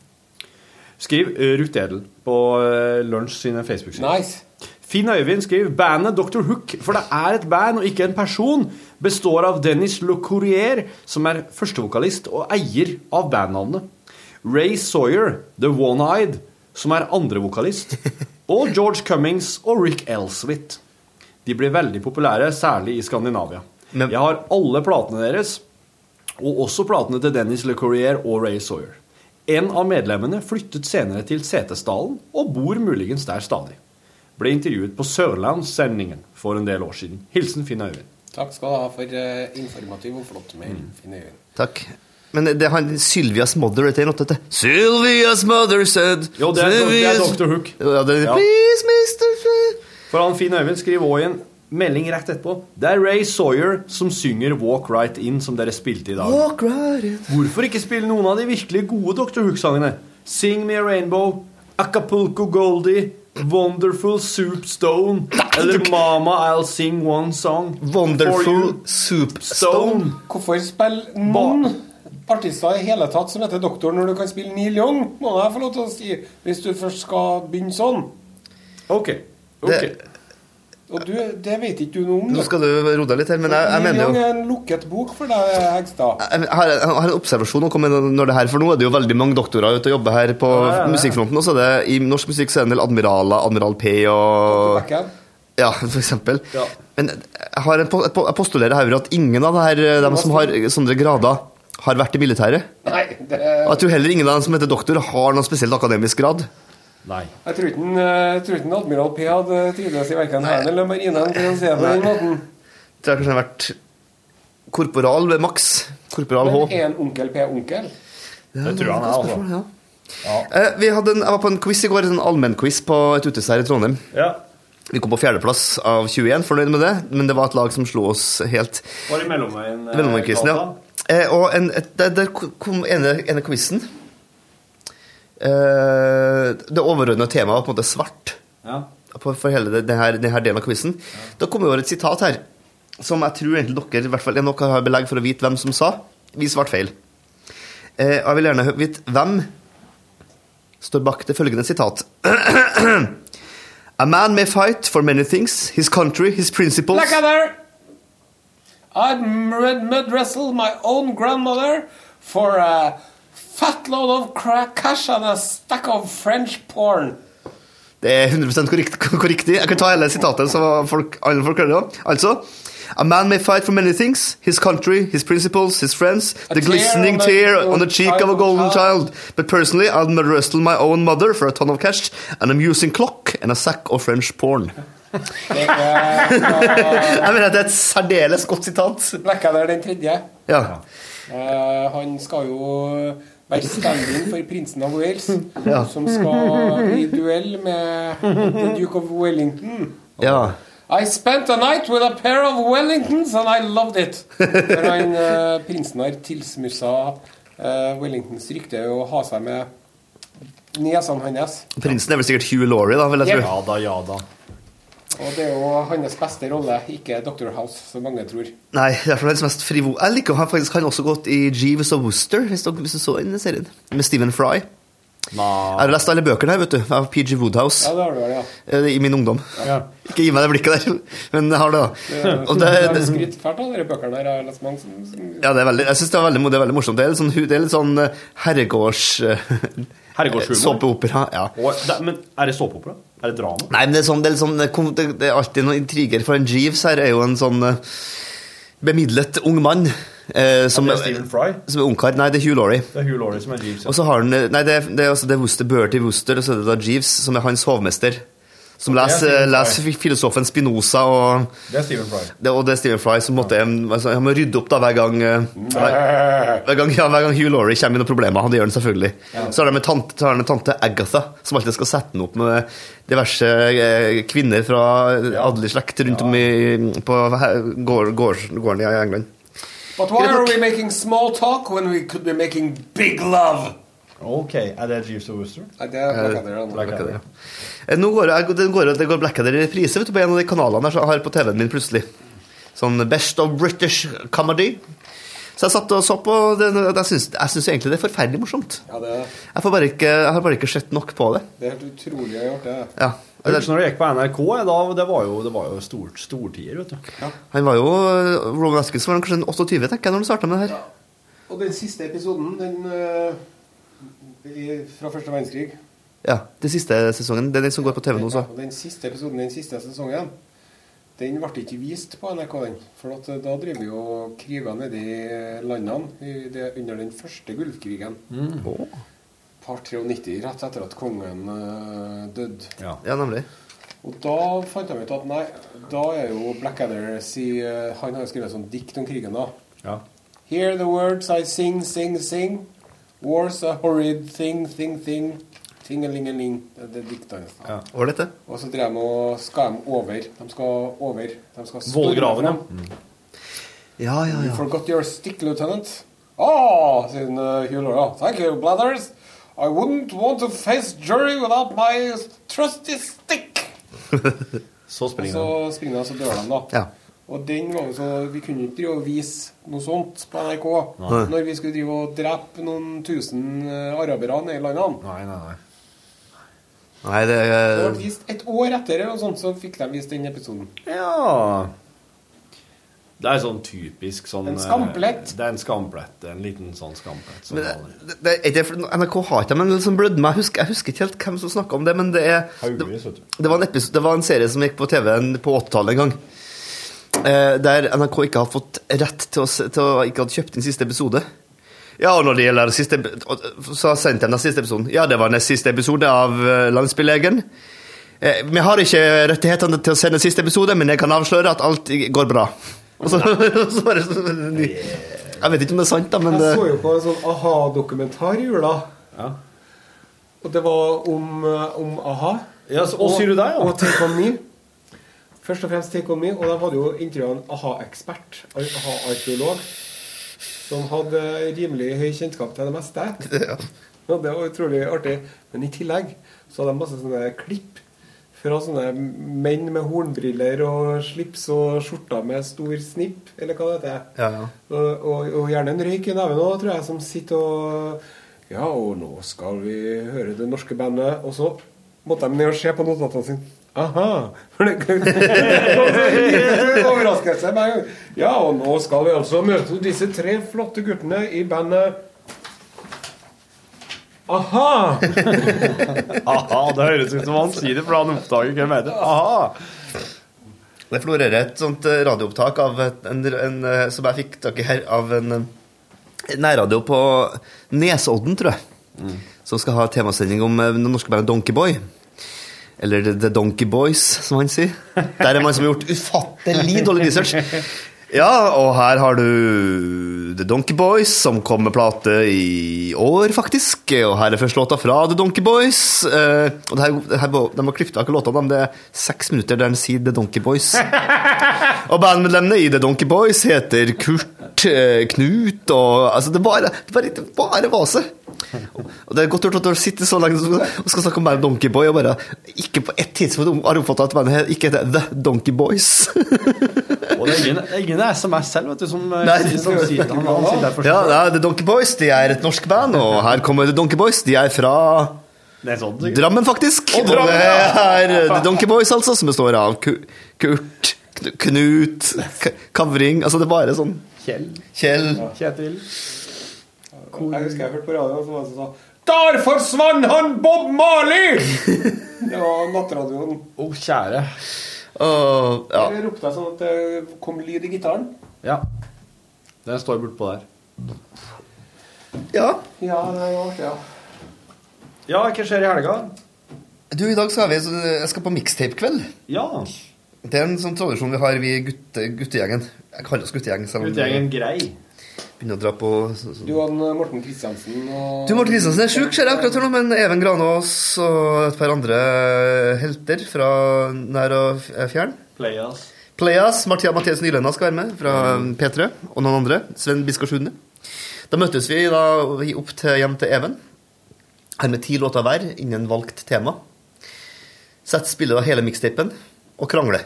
Speaker 1: Skriv eh, Ruth Edel på eh, Lunsj sine Facebook-sider.
Speaker 2: Nice.
Speaker 1: Finn Øyvind skriver bandet Dr. Hook, for det er et band og ikke en person, består av Dennis Locourier, som er førstevokalist og eier av bandnavnet. Ray Sawyer, The One-Eyed, som er andrevokalist. Og George Cummings og Rick Elswit. De blir veldig populære, særlig i Skandinavia.
Speaker 8: Men-
Speaker 1: Jeg har alle platene deres, og også platene til Dennis Lecourier og Ray Sawyer. En av medlemmene flyttet senere til Setesdalen og bor muligens der stadig. Ble intervjuet på Sørlandssendingen for en del år siden. Hilsen Finn Øyvind.
Speaker 2: Takk skal du ha for eh, informativ og flott mail,
Speaker 8: Mm.
Speaker 2: Finn Øyvind.
Speaker 8: takk. Men det er han Sylvias mother etter en åtte til. Sylvias mother said
Speaker 1: Jo, det er- det er
Speaker 8: Sylvia's-
Speaker 1: Dr. Hook.
Speaker 8: Ja, det er,
Speaker 1: Ja.
Speaker 8: Please, Mr. Fred.
Speaker 1: For han Finn Øyvind skriver også i en melding rett etterpå. Det er Ray Sawyer som synger Walk Right In, som dere spilte i dag.
Speaker 8: Walk right in.
Speaker 1: Hvorfor ikke spille noen av de virkelig gode Dr. Hook-sangene? Sing Me a Rainbow, Acapulco Goldie, Wonderful Soup Stone eller Mama I'll Sing One Song for
Speaker 8: Wonderful
Speaker 1: You
Speaker 8: Soup Stone.
Speaker 1: Stone.
Speaker 2: Hvorfor spille noen artister i hele tatt som heter Doktor, når du kan spille Neil Young? Må jeg få lov til å si, hvis du først skal begynne sånn.
Speaker 1: Ok. ok.
Speaker 8: Det-
Speaker 2: Og du, det vet ikke du noe om.
Speaker 8: Nå skal du roe deg litt her, men jeg, jeg mener jo
Speaker 2: Neil Young er en lukket bok for deg, Hegstad.
Speaker 8: jeg har, jeg har en observasjon å komme med når det her, for nå er det jo veldig mange doktorer ute og jobber her på
Speaker 1: ja, ja.
Speaker 8: musikkfronten, og så er det i norsk musikk så er det en del admiraler, Admiral P og
Speaker 2: Bekken.
Speaker 8: Ja, for eksempel.
Speaker 1: Ja.
Speaker 8: Men jeg, har en, po- jeg po- jeg postulerer her at ingen av de her, eh, dem som har sånne grader, har vært i militæret.
Speaker 2: Nei, det,
Speaker 8: Og jeg tror heller ingen av dem som heter doktor, har noen spesielt akademisk grad.
Speaker 1: Nei.
Speaker 2: jeg tror ikke den, eh, jeg tror ikke den Admiral P hadde trivdes i verken hæren eller marinen. for å si det på den måten.
Speaker 8: Jeg tror jeg kanskje har vært korporal ved maks. Korporal H.
Speaker 2: Men er en onkel P onkel?
Speaker 1: Det tror jeg han er, altså.
Speaker 8: Ja. Eh, Vi hadde en, jeg var på en quiz i går, en allmennquiz på et utested her i Trondheim.
Speaker 1: Ja.
Speaker 8: Vi kom på fjerdeplass av 21, fornøyd med det, men det var et lag som slo oss helt.
Speaker 1: Var i mellomveien. eh,
Speaker 8: Velnommerquizen, ja.
Speaker 1: Gata.
Speaker 8: Eh, og en, et, der, der kom ene, ene quizen. Eh, det overordnede temaet var på en måte svart
Speaker 1: ja.
Speaker 8: på, for hele det- det her- denne delen av quizen. Da kom jo et sitat her, som jeg tror egentlig dere i hvert fall er nok har belegg for å vite hvem som sa. Vi svarte feil. Eh, og jeg vil gjerne hø- vite hvem står bak det følgende sitat. A man may fight for many things, his country, his principles
Speaker 2: Blackadder! I'd mud, mud wrestle my own grandmother for a fat load of cra- cash and a stack of French porn.
Speaker 8: Det er 100 korrekt, korrektig. Jeg kan ta hele sitatet, så folk, alle folk hører det. Altså A man may fight for many things. His country, his principles, his friends. The
Speaker 2: tear
Speaker 8: glistening
Speaker 2: on the-
Speaker 8: tear on the cheek of a golden
Speaker 2: child.
Speaker 8: child. But personally, I'd rather wrestle my own mother for a ton of cash, an amusing clock, and a sack of French porn.
Speaker 2: Det er
Speaker 8: Jeg mener at det er et særdeles godt sitat.
Speaker 2: Blackadder den tredje.
Speaker 8: Ja.
Speaker 2: Eh, han skal jo eh, være stand-in for prinsen av Wales,
Speaker 8: Ja.
Speaker 2: som skal i duell med The Duke of Wellington.
Speaker 8: ja.
Speaker 7: I spent a night with a pair of Wellingtons and I loved it. For han, eh, prinsen har tilsmussa eh, Wellingtons rykte og ha seg med nesene hans.
Speaker 8: Prinsen er vel sikkert Hugh Laurie, da, vil jeg tro.
Speaker 1: Ja da, ja da.
Speaker 7: Og det er jo hans beste rolle, ikke Dr. House, som mange tror.
Speaker 8: Nei, det er for hans mest frivo... Jeg liker han faktisk. Han har også gått i Jeeves og Wooster, hvis dere hvis du så den serien, med Stephen Fry. Jeg har lest alle bøkene her, vet du, av PG Woodhouse
Speaker 7: Ja, det har du vel, ja.
Speaker 8: eh, i min ungdom. Ikke gi meg det blikket der, men jeg har det, da. Og det,
Speaker 7: Jeg har
Speaker 8: det
Speaker 7: skrytt fælt av dere bøkene der. Jeg har lest mange som, som
Speaker 8: ja, det er veldig, jeg syns det, er veldig mo- det er veldig morsomt. Det er litt sånn, hu- det er litt sånn eh, herregårds... eh,
Speaker 1: Herregårdshumor.
Speaker 8: Såpeopera. Ja.
Speaker 1: Og, det, men er det såpeopera? Er det drama?
Speaker 8: Nei, men det er, sånn, det, er litt sånn, det kom- det det er alltid noen intriger, for en Jeeves her er jo en sånn eh, bemidlet ung mann. eh, som,
Speaker 1: Ja, det er Stephen Fry.
Speaker 8: Som er ungkar. Nei, det er Hugh Laurie.
Speaker 1: Det er Hugh Laurie som er Jeeves.
Speaker 8: Og så har han eh, Nei, det, er- det er altså det er Wooster, Bertie Wooster, og så er det da Jeeves, som er hans hovmester. Som leser,
Speaker 1: Stephen Fry.
Speaker 8: leser fi- filosofen Spinoza, og
Speaker 1: Det er Stephen Fry.
Speaker 8: det, og det er Stephen Fry som måtte altså, Han må rydde opp da hver gang eh, hver, hver gang, ja, hver gang Hugh Laurie kommer med noen problemer. Og det gjør han selvfølgelig. Så har de en tante, så har de en tante Agatha, som alltid skal sette han opp med diverse eh, kvinner fra adelig slekt rundt om i, på he- gård, gård, gården i England.
Speaker 7: But why are we making small talk when we could be making big love?
Speaker 1: Ok, er det Jeeves og Wooster?
Speaker 7: Nei, det er Black Adder, da.
Speaker 8: Black Adder, ja. Eh, Nå går jeg- det går, det går Black Adder i reprise vet du, på en av de kanalene jeg har på TV-en min plutselig. Sånn Best of British Comedy. Så jeg satt og så på, det, og jeg syns jeg syns egentlig det er forferdelig morsomt.
Speaker 7: Ja, det er,
Speaker 8: Jeg, får bare ikke, jeg har bare ikke sett nok på det.
Speaker 7: det er helt utrolig å ha gjort det.
Speaker 8: Ja. sånn-
Speaker 1: Jeg husker når jeg gikk på NRK, jeg, da, det var jo, det var jo stort, stortider, vet du.
Speaker 8: Han var jo Roman Atkinson var han kanskje en 28, tenker jeg, når han starta med det her.
Speaker 7: Og den siste episoden, den eh, i, fra første verdenskrig
Speaker 8: Ja, Den siste sesongen. Det er den som går på TV nå, så.
Speaker 7: Og Den siste episoden, den siste sesongen, den ble ikke vist på NRK, den. For at eh, da drev vi jo og kriga nede i landene i det, under den første Gulfkrigen.
Speaker 8: Mm.
Speaker 7: Par 93, rett etter at kongen eh, døde.
Speaker 8: Ja, nemlig.
Speaker 7: Og da fant de ut at nei, da er jo Blackadder si, eh, Han har jo skrevet sånn dikt om krigen, da.
Speaker 1: Ja.
Speaker 7: Hear the words I sing, sing, sing. War's a horrid thing, thing, thing. Tingelingeling. Det det er diktet hans. da.
Speaker 8: Var det dette?
Speaker 7: Og så drev de og skal de over. De skal over. De skal storme
Speaker 1: Vollgraven, ja.
Speaker 7: frem.
Speaker 8: Ja, ja,
Speaker 7: You
Speaker 8: ja.
Speaker 7: forgot your stick, lieutenant. Ah, sier uh, Hugh Laurie. Thank you, Blathers. I wouldn't want to face jury without my trusty stick.
Speaker 1: Så
Speaker 7: Og
Speaker 1: springer
Speaker 7: så
Speaker 1: han.
Speaker 7: springer de, og så dør de, da.
Speaker 8: Ja.
Speaker 7: Og den var jo så Vi kunne jo ikke drive og vise noe sånt på NRK
Speaker 8: Nei.
Speaker 7: når vi skulle drive og drepe noen tusen eh, arabere nede i landene.
Speaker 1: Nei, nei, nei.
Speaker 8: Nei, det
Speaker 7: Det ble
Speaker 8: er
Speaker 7: vist et år etter, og sånt, så fikk de vist den episoden.
Speaker 1: Ja Det er sånn typisk sånn
Speaker 7: En skamplett.
Speaker 1: eh, Det er en skamplett. En liten sånn skamplett. Som
Speaker 8: men det,
Speaker 1: alle-
Speaker 8: det, det, er ikke- NRK har ikke dem, men som blødde meg. Jeg husker, jeg husker ikke helt hvem som snakka om det, men det er det,
Speaker 1: Haugevis, vet du.
Speaker 8: Det var, en episode, det var en serie som gikk på TV en- på 80-tallet en gang. Eh, der NRK ikke hadde fått rett til å, se- til å ikke hadde kjøpt inn siste episode. Ja, og når det gjelder siste ep- og- Så sendte jeg den siste episoden. Ja, det var den siste episode av eh, Landsbylegen. Eh, Vi har ikke rettighetene til å sende siste episode, men jeg kan avsløre at alt i- går bra. Og så, og så bare sånn en ny. Jeg vet ikke om det er sant, da, men
Speaker 7: Jeg så
Speaker 8: det,
Speaker 7: jo på en sånn a-ha-dokumentar i jula.
Speaker 1: Ja.
Speaker 7: Og det var om, eh, om a-ha.
Speaker 1: Ja, så- og sier du det, ja?
Speaker 7: Og Take On Me. Først og fremst Take On Me, og de hadde jo intervjua en a-ha-ekspert, a-ha-arkeolog, som hadde rimelig høy kjennskap til det meste. Og det var utrolig artig. Men i tillegg så hadde de masse sånne klipp fra sånne menn med hornbriller og slips og skjorter med stor snipp, eller hva det heter.
Speaker 8: Ja, ja.
Speaker 7: Og, og, og gjerne en røyk i neven òg, tror jeg, som sitter og Ja, og nå skal vi høre det norske bandet. Og så måtte de ned og se på notatene sine. Aha! For det kom så overraskelse hver gang. Ja, og nå skal vi altså møte disse tre flotte guttene i bandet Aha!
Speaker 1: Aha, det høres ut som han sier det, for han oppdager hvem er det. Aha!
Speaker 8: det florerer et sånt eh, radioopptak av et- en, en, eh, som jeg fikk tak i her, av en eh, nærradio på Nesodden, tror jeg, som skal ha temasending om eh, det norske bandet Donkeyboy. Eller The Donkey Boys, som han sier. Der er man som har gjort ufattelig dårlig research. Ja, og her har du The Donkey Boys, som kom med plate i år, faktisk. Og her er første låta fra The Donkey Boys. Eh, og det her, det her, var- de har klippet av ikke låtene, men det er seks minutter der de sier The Donkey Boys. og bandmedlemmene i The Donkey Boys heter Kurt, eh, Knut og Altså, det er bare, det er bare, det er bare vase. Og det er godt gjort at du har sittet så lenge og skal snakke om bandet Donkey Boy, og bare ikke på ett tidspunkt har oppfatta at bandet ikke heter The Donkey Boys.
Speaker 1: Og det er ingen, ingen SMS selv, vet du, som,
Speaker 8: Nei.
Speaker 1: som sier han, han sitter der for
Speaker 8: Ja, det er The Donkey Boys de er et norsk band, og her kommer The Donkey Boys. De er fra
Speaker 1: Det er sånn, sikkert.
Speaker 8: Drammen, faktisk. Og
Speaker 1: Drammen,
Speaker 8: det
Speaker 1: ja.
Speaker 8: er eh, The Donkey Boys, altså, som består av Ku- Kurt, Kn- Knut, K- Kavring Altså, det er bare sånn
Speaker 2: Kjell.
Speaker 8: Kjell
Speaker 2: Kjetil. Jeg husker jeg hørte på radioen som var det som sa Der forsvant han Bob Marley! Det var nattradioen.
Speaker 1: Å, kjære.
Speaker 8: og ja.
Speaker 2: Jeg ropte sånn at det kom lyd i gitaren.
Speaker 1: Ja. Den står bortpå der.
Speaker 8: ja.
Speaker 2: Ja, det var artig, ja.
Speaker 1: Ja, hva skjer i helga?
Speaker 8: Du, i dag skal vi Jeg skal på mixtape-kveld.
Speaker 1: Ja.
Speaker 8: Det er en sånn tradisjon vi har, vi gutte, guttegjengen. Jeg kaller oss guttegjengen, selv om
Speaker 1: Guttegjengen grei.
Speaker 8: vi begynner å dra på så- så-
Speaker 2: Du og han, Morten Kristiansen og
Speaker 8: Du, Morten Kristiansen er sjuk, ser jeg akkurat her nå, men Even Granås og et par andre helter fra nær og f- fjern.
Speaker 1: Playas.
Speaker 8: Playas, Martia Mathias Nylenda skal være med, fra P3, og noen andre. Sven Biskars Hunde. Da møttes vi da vi opp til, hjem til Even, her med ti låter hver innen valgt tema. Sett spiller da hele mixtapen, og krangler.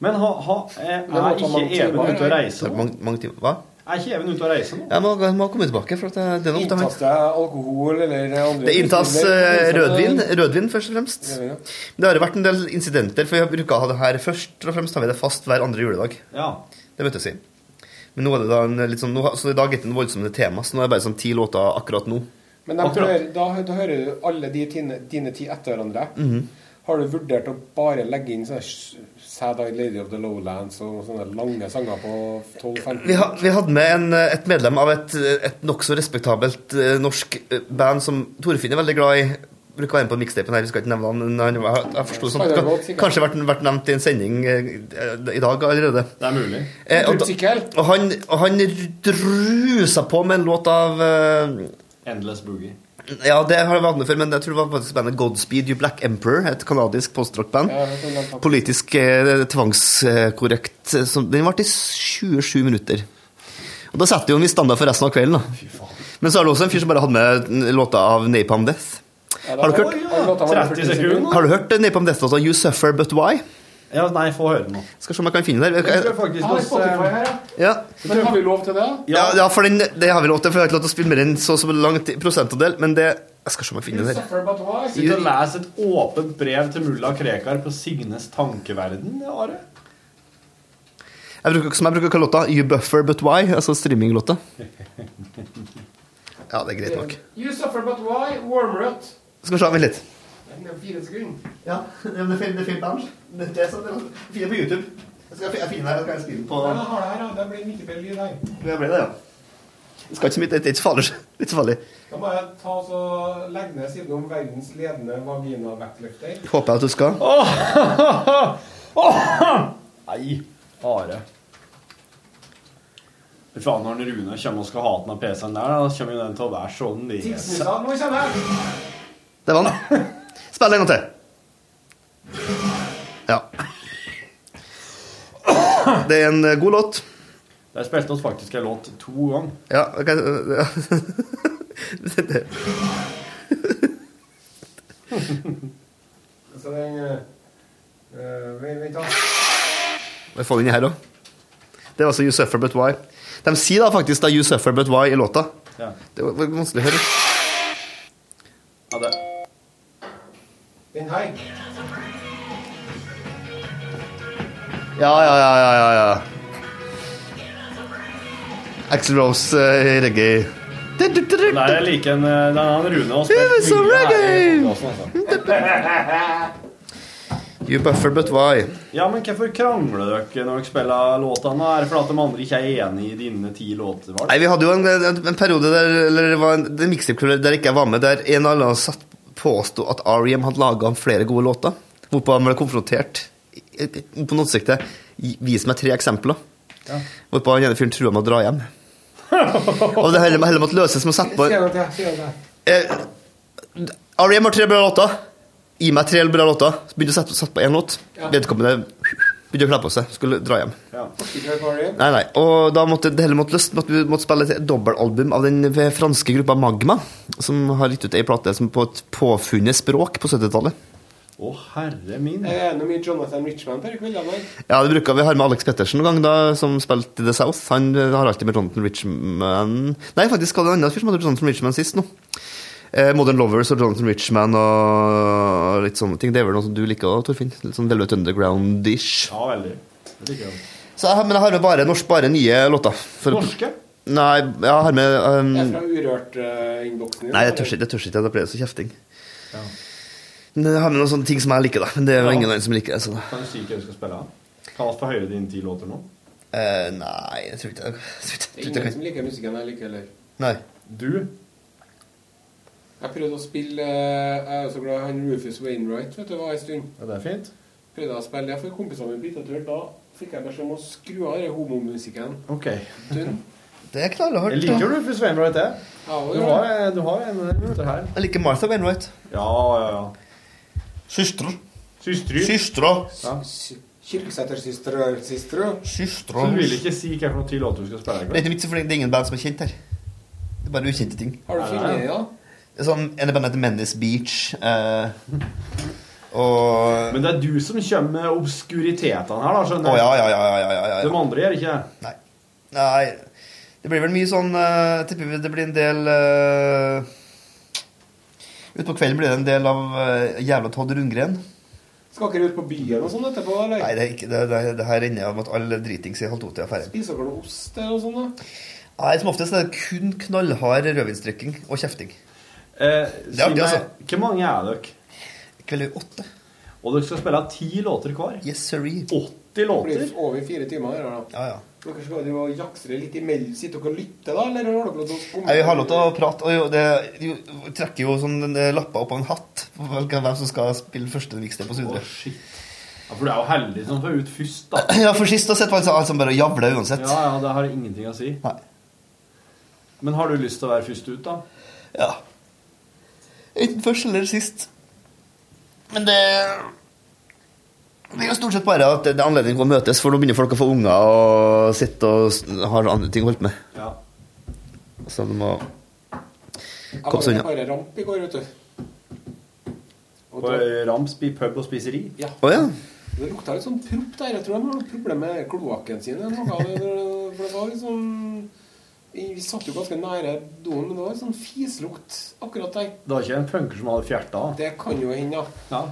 Speaker 1: Men ha, ha, eh, er ikke Even ute og
Speaker 8: Så
Speaker 1: reiser nå?
Speaker 8: Mange, mange timer. Hva?
Speaker 1: Er ikke Even ute og reiser nå?
Speaker 8: Jeg må, jeg må komme tilbake, for at eh, det, det er noe opptatt.
Speaker 2: Inntas det alkohol eller andre
Speaker 8: Det inntas eh, rødvin, rødvin først og fremst.
Speaker 2: Rødvin, ja.
Speaker 8: Det har jo vært en del incidenter, for vi bruker å ha det her først og fremst. har vi det fast hver andre juledag.
Speaker 1: Ja.
Speaker 8: Det møtes vi. Men nå er det da en litt sånn, nå, så i dag er det en voldsomme tema, så nå er det bare sånn ti låter akkurat nå.
Speaker 2: Men de
Speaker 1: Akkurat.
Speaker 2: hører, da, da hører du alle de tine, dine ti etter hverandre.
Speaker 8: Mhm.
Speaker 2: Har du vurdert å bare legge inn sånne s- Sad Eyed Lady of the Lowlands og sånne lange sanger på 12-15?
Speaker 8: Vi, ha, vi hadde med en, eh, et medlem av et, eh, et nokså respektabelt eh, norsk eh, band som Torfinn er veldig glad i. Bruker å være med på mixtapen her, vi skal ikke nevne han. men han jeg, jeg forstod sånn, at det kan- kanskje vært, vært nevnt i en sending eh, i dag allerede.
Speaker 1: Det er mulig.
Speaker 8: Eh, og, da,
Speaker 2: Motorsykkel.
Speaker 8: og han, og han drusa på med en låt av eh,
Speaker 1: Endless boogie.
Speaker 8: Ja, det har vi hatt med før, men jeg tror det var faktisk bandet Godspeed You Black Emperor. Et kanadisk postrockband.
Speaker 2: Ja, jeg tror den tatt-
Speaker 8: Politisk eh, tvangskorrekt. eh, som- Den varte i 27 minutter. Og Da setter jo en viss standard for resten av kvelden. da Men så er det også en fyr som bare hadde med låta av Napalm Death.
Speaker 2: Ja, da-
Speaker 8: Har dere hørt-
Speaker 2: Oi, ja.
Speaker 1: 30 sekunder.
Speaker 8: Har du hørt eh, Napalm Death-låta You Suffer But Why?
Speaker 1: Ja, nei, få høre nå.
Speaker 8: Skal se om jeg kan finne den.
Speaker 1: Jeg skal
Speaker 8: her.
Speaker 1: faktisk
Speaker 2: Jeg har
Speaker 1: også-
Speaker 2: Spotify her, ja.
Speaker 8: Ja.
Speaker 2: Men har vi lov til det?
Speaker 8: Ja, ja, for den, det har vi lov til, for jeg har ikke lov til å spille mer enn så, så langt i prosentandel. Men det Jeg skal se om jeg finner den her.
Speaker 2: Suffer but why?
Speaker 1: Sitt og les et åpent brev til mulla Krekar på Signes tankeverden, Are.
Speaker 8: Jeg bruker, som jeg bruker kalotta, You Buffer But Why, altså streaminglåta. Ja, det er greit nok.
Speaker 2: You suffer but why? Warmrut.
Speaker 8: Skal vi se, vent litt.
Speaker 2: Den er Fire sekunder.
Speaker 8: Ja, det er fint, det er fint band. Det er sånn, det finner på YouTube. Jeg skal jeg finner her, jeg skal spille på
Speaker 2: Ja, Jeg har det her, ja. Det blir mye bedre lyd her.
Speaker 8: det ble det, ja. Det skal ikke så mye, det er ikke så farlig. Det er ikke så farlig.
Speaker 2: Da må jeg ta og så legge ned siden om verdens ledende vagina-vektløfter.
Speaker 8: Håper jeg at du skal.
Speaker 1: Nei, Are. Fy faen, når Rune kommer og skal ha den av PC-en der, da kommer jo den til å være sånn i
Speaker 2: Tidsmusa, nå kommer jeg!
Speaker 8: Det var den. Spill en gang til. Ja. Det er en eh, god låt.
Speaker 1: Der spilte oss faktisk en låt to ganger.
Speaker 8: Ja, ok. eh, ja. Det- det-
Speaker 2: Så den eh, eh, Vent, da.
Speaker 8: Jeg får den inn her òg. Det var altså You Suffer But Why. De sier da faktisk da You Suffer But Why i låta.
Speaker 1: Ja.
Speaker 8: Det var var vanskelig å høre.
Speaker 1: Ja, det.
Speaker 2: Den her.
Speaker 8: Ja, ja, ja, ja, ja, ja. Axel Rose eh, reggae.
Speaker 1: Nei, jeg liker en, eh, den han Rune har
Speaker 8: Yeah, it's a
Speaker 1: mye her i
Speaker 8: reggae!
Speaker 1: podcasten, altså.
Speaker 8: You Buffer But Why.
Speaker 1: Ja, men hvorfor krangler dere når dere spiller låtene? Er det fordi at de andre ikke er enige i dine ti låter? Var det?
Speaker 8: Nei, vi hadde jo en, en, en periode der eller det var en, det mixtape-kveld der ikke jeg var med, der en av oss satt påsto at R.E.M. hadde laga flere gode låter. Hvorpå han ble konfrontert i- i- på notesiktet. Vis meg tre eksempler. Hvorpå han ene fyren trua med å dra hjem. Og det hele, hele måtte løses med å sette på
Speaker 7: Si noe til, si noe til.
Speaker 8: eh, R.E.M. har tre bra låter. Gi meg tre bra låter. Så begynte jeg å sette, sette på én låt. Vedkommende begynte å kle på seg. Skulle dra hjem.
Speaker 7: Ikke hør på Ariel.
Speaker 8: Nei, nei. Og da måtte det hele måtte løst, måtte vi måtte spille et dobbeltalbum av den franske gruppa Magma, som har gitt ut ei plate som på et påfunnet språk på 70-tallet.
Speaker 1: Å, herre min.
Speaker 7: Jeg er noe mye Jonathan Richman på kveldene. her.
Speaker 8: Ja, det bruker vi har med Alex Pettersen en gang, da, som spilte i The South. Han eh, har alltid med Jonathan Richman Nei, faktisk var det en annen fyr som hadde Jonathan Richman sist nå. Eh, Modern Lovers og Jonathan Richman og litt sånne ting. Det er vel noe som du liker, Torfinn? Litt sånn Velvet Underground-ish.
Speaker 1: Ja, veldig. Det liker jeg.
Speaker 8: Så jeg har- Men jeg har med bare, norsk, bare nye låter. For-
Speaker 1: Norske?
Speaker 8: Nei, jeg har med um,
Speaker 7: Jeg er fra Urørt-innboksen din.
Speaker 8: Nei, jeg tør ikke, jeg tør ikke, da blir det så kjefting. Men jeg har med noen sånne ting som jeg liker, da. Men det er jo ingen andre som liker det. Så da.
Speaker 1: Kan du si hva du skal spille? Kan vi få høre dine ti låter nå?
Speaker 8: Eh, nei, jeg tror ikke jeg tror ikke-
Speaker 7: Det
Speaker 8: jeg
Speaker 7: er
Speaker 8: tror ikke jeg
Speaker 7: ingen
Speaker 8: kan
Speaker 7: som liker musikken jeg liker heller.
Speaker 8: Nei.
Speaker 1: Du?
Speaker 7: Jeg prøvde å spille eh, Jeg er jo så glad i han Rufus Wainwright vet du, var en stund.
Speaker 1: Ja, det er fint.
Speaker 7: Prøvde jeg å spille det for kompisene mine på hyttetur. Da fikk jeg beskjed om å skru av den homomusikken.
Speaker 1: Ok.
Speaker 7: Dun.
Speaker 8: Det er knallhardt.
Speaker 1: Jeg liker
Speaker 8: da.
Speaker 1: jo Rufus Wainwright, jeg.
Speaker 7: Ja, og
Speaker 1: Du
Speaker 7: gjør
Speaker 1: har, eh,
Speaker 7: det.
Speaker 1: du har en gutter her.
Speaker 8: Jeg liker Martha Wainwright.
Speaker 1: Ja, ja, ja.
Speaker 8: Søstre.
Speaker 1: Systry.
Speaker 8: Søstre.
Speaker 7: Sy- Kirkesætersøstre søstre.
Speaker 1: Så
Speaker 8: Søstre.
Speaker 1: du vil ikke si hvilke ti låter du skal spille? Ikke?
Speaker 8: Det er mitt, for det er ingen band som er kjent her. Det er bare ukjente ting.
Speaker 7: Har du funnet det, da?
Speaker 8: Det er Sånn, en band heter Menace Beach. eh, og
Speaker 1: Men det er du som kommer med obskuritetene her, da,
Speaker 8: Å
Speaker 1: skjønner
Speaker 8: ja, ja, ja, ja, ja, ja, ja.
Speaker 1: De andre gjør ikke
Speaker 8: Nei. Nei. Det blir vel mye sånn eh, Jeg tipper det blir en del uh, Utpå kvelden blir det en del av eh, jævla Todd Rundgren.
Speaker 7: Skal dere ut på byen og sånn etterpå, eller?
Speaker 8: Nei, det, er ikke, det, det, det her ender jeg med at alle dritings i halv to-tida er ferdig.
Speaker 7: Spiser dere noe ost eller noe sånt, da?
Speaker 8: Nei, som oftest er det kun knallhard rødvinsdrikking og kjefting.
Speaker 1: Eh,
Speaker 8: Det er
Speaker 1: si
Speaker 8: artig,
Speaker 1: meg,
Speaker 8: altså.
Speaker 1: hvor mange er dere?
Speaker 8: Kveld er jo åtte.
Speaker 1: Og dere skal spille ti låter hver?
Speaker 8: Yes, sorry.
Speaker 1: 80
Speaker 7: Det
Speaker 1: låter?
Speaker 7: blir over fire timer her, da.
Speaker 8: Ja, ja.
Speaker 7: Dere skal jo jakse litt imellom. Sitter dere og lytter, da, eller har dere lov til å komme?
Speaker 8: Nei, Vi har lov til å prate, og jo, det jo, trekker jo sånn eh, lapper opp av en hatt på hvem hvem som skal spille første mixtape på
Speaker 1: Å,
Speaker 8: Sudre.
Speaker 1: shit. Ja, for du er jo heldig som får ut først, da.
Speaker 8: Ja, for sist da sett var det alt som altså bare javla uansett.
Speaker 1: Ja, ja, det har ingenting å si.
Speaker 8: Nei.
Speaker 1: Men har du lyst til å være først ut, da?
Speaker 8: Ja. Enten først eller sist. Men det Det er jo stort sett bare at det er anledning til å møtes, for nå begynner folk å få unger og sitte og s- har andre ting å holde på med.
Speaker 1: Ja.
Speaker 8: Så de må
Speaker 7: Jeg
Speaker 8: Kom sånn,
Speaker 7: var
Speaker 8: så
Speaker 7: jo
Speaker 8: unna.
Speaker 7: bare ramp i går, vet du. Og
Speaker 1: På
Speaker 7: da,
Speaker 1: Ramsby pub og spiseri?
Speaker 7: ja,
Speaker 8: Å ja.
Speaker 7: det lukta litt sånn propp der. Jeg tror de har noe problem med kloakken sin. eller Noe, av det, for det var liksom Vi satt jo ganske nære doen, men det var sånn fislukt akkurat der.
Speaker 1: Det var ikke en punker som hadde fjerta?
Speaker 7: Det kan jo hende, ja.
Speaker 1: Ja.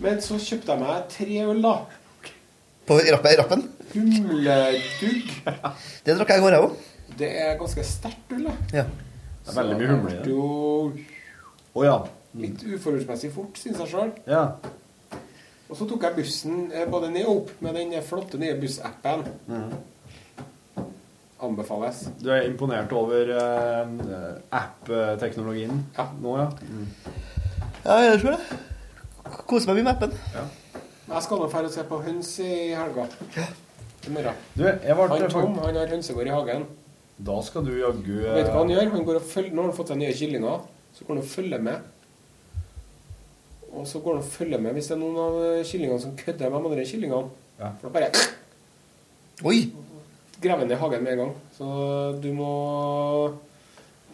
Speaker 7: Men så kjøpte jeg meg tre øl, da.
Speaker 8: På rappen, rappen.
Speaker 7: Humledugg.
Speaker 8: Det drakk jeg i går, jeg òg.
Speaker 7: Det er ganske sterkt øl, da.
Speaker 8: Ja.
Speaker 1: Det er veldig mye humle i
Speaker 7: Det
Speaker 1: det.
Speaker 7: ble jo
Speaker 1: Å ja.
Speaker 7: litt uforholdsmessig fort, syns jeg sjøl.
Speaker 1: ja.
Speaker 7: Og så tok jeg bussen eh, både ned og opp med den flotte nye bussappen. Anbefales.
Speaker 1: Du er imponert over eh, app-teknologien
Speaker 7: Ja.
Speaker 1: nå, ja?
Speaker 8: ja, jeg tror det. Koser meg mye med appen.
Speaker 7: Jeg skal nå dra og se på høns i helga. I morgen.
Speaker 1: Du, jeg ble
Speaker 7: Han Tom han har hønsegård i hagen.
Speaker 1: Da skal du jaggu eh,
Speaker 7: Vet du hva han gjør? Han går og følger, Nå har han fått seg nye kyllinger, så går han og følger med. Og så går han og følger med hvis det er noen av eh, kyllingene som kødder med de andre kyllingene.
Speaker 1: Ja.
Speaker 7: For da bare
Speaker 8: Oi!
Speaker 7: graver han ned hagen med en gang. Så du må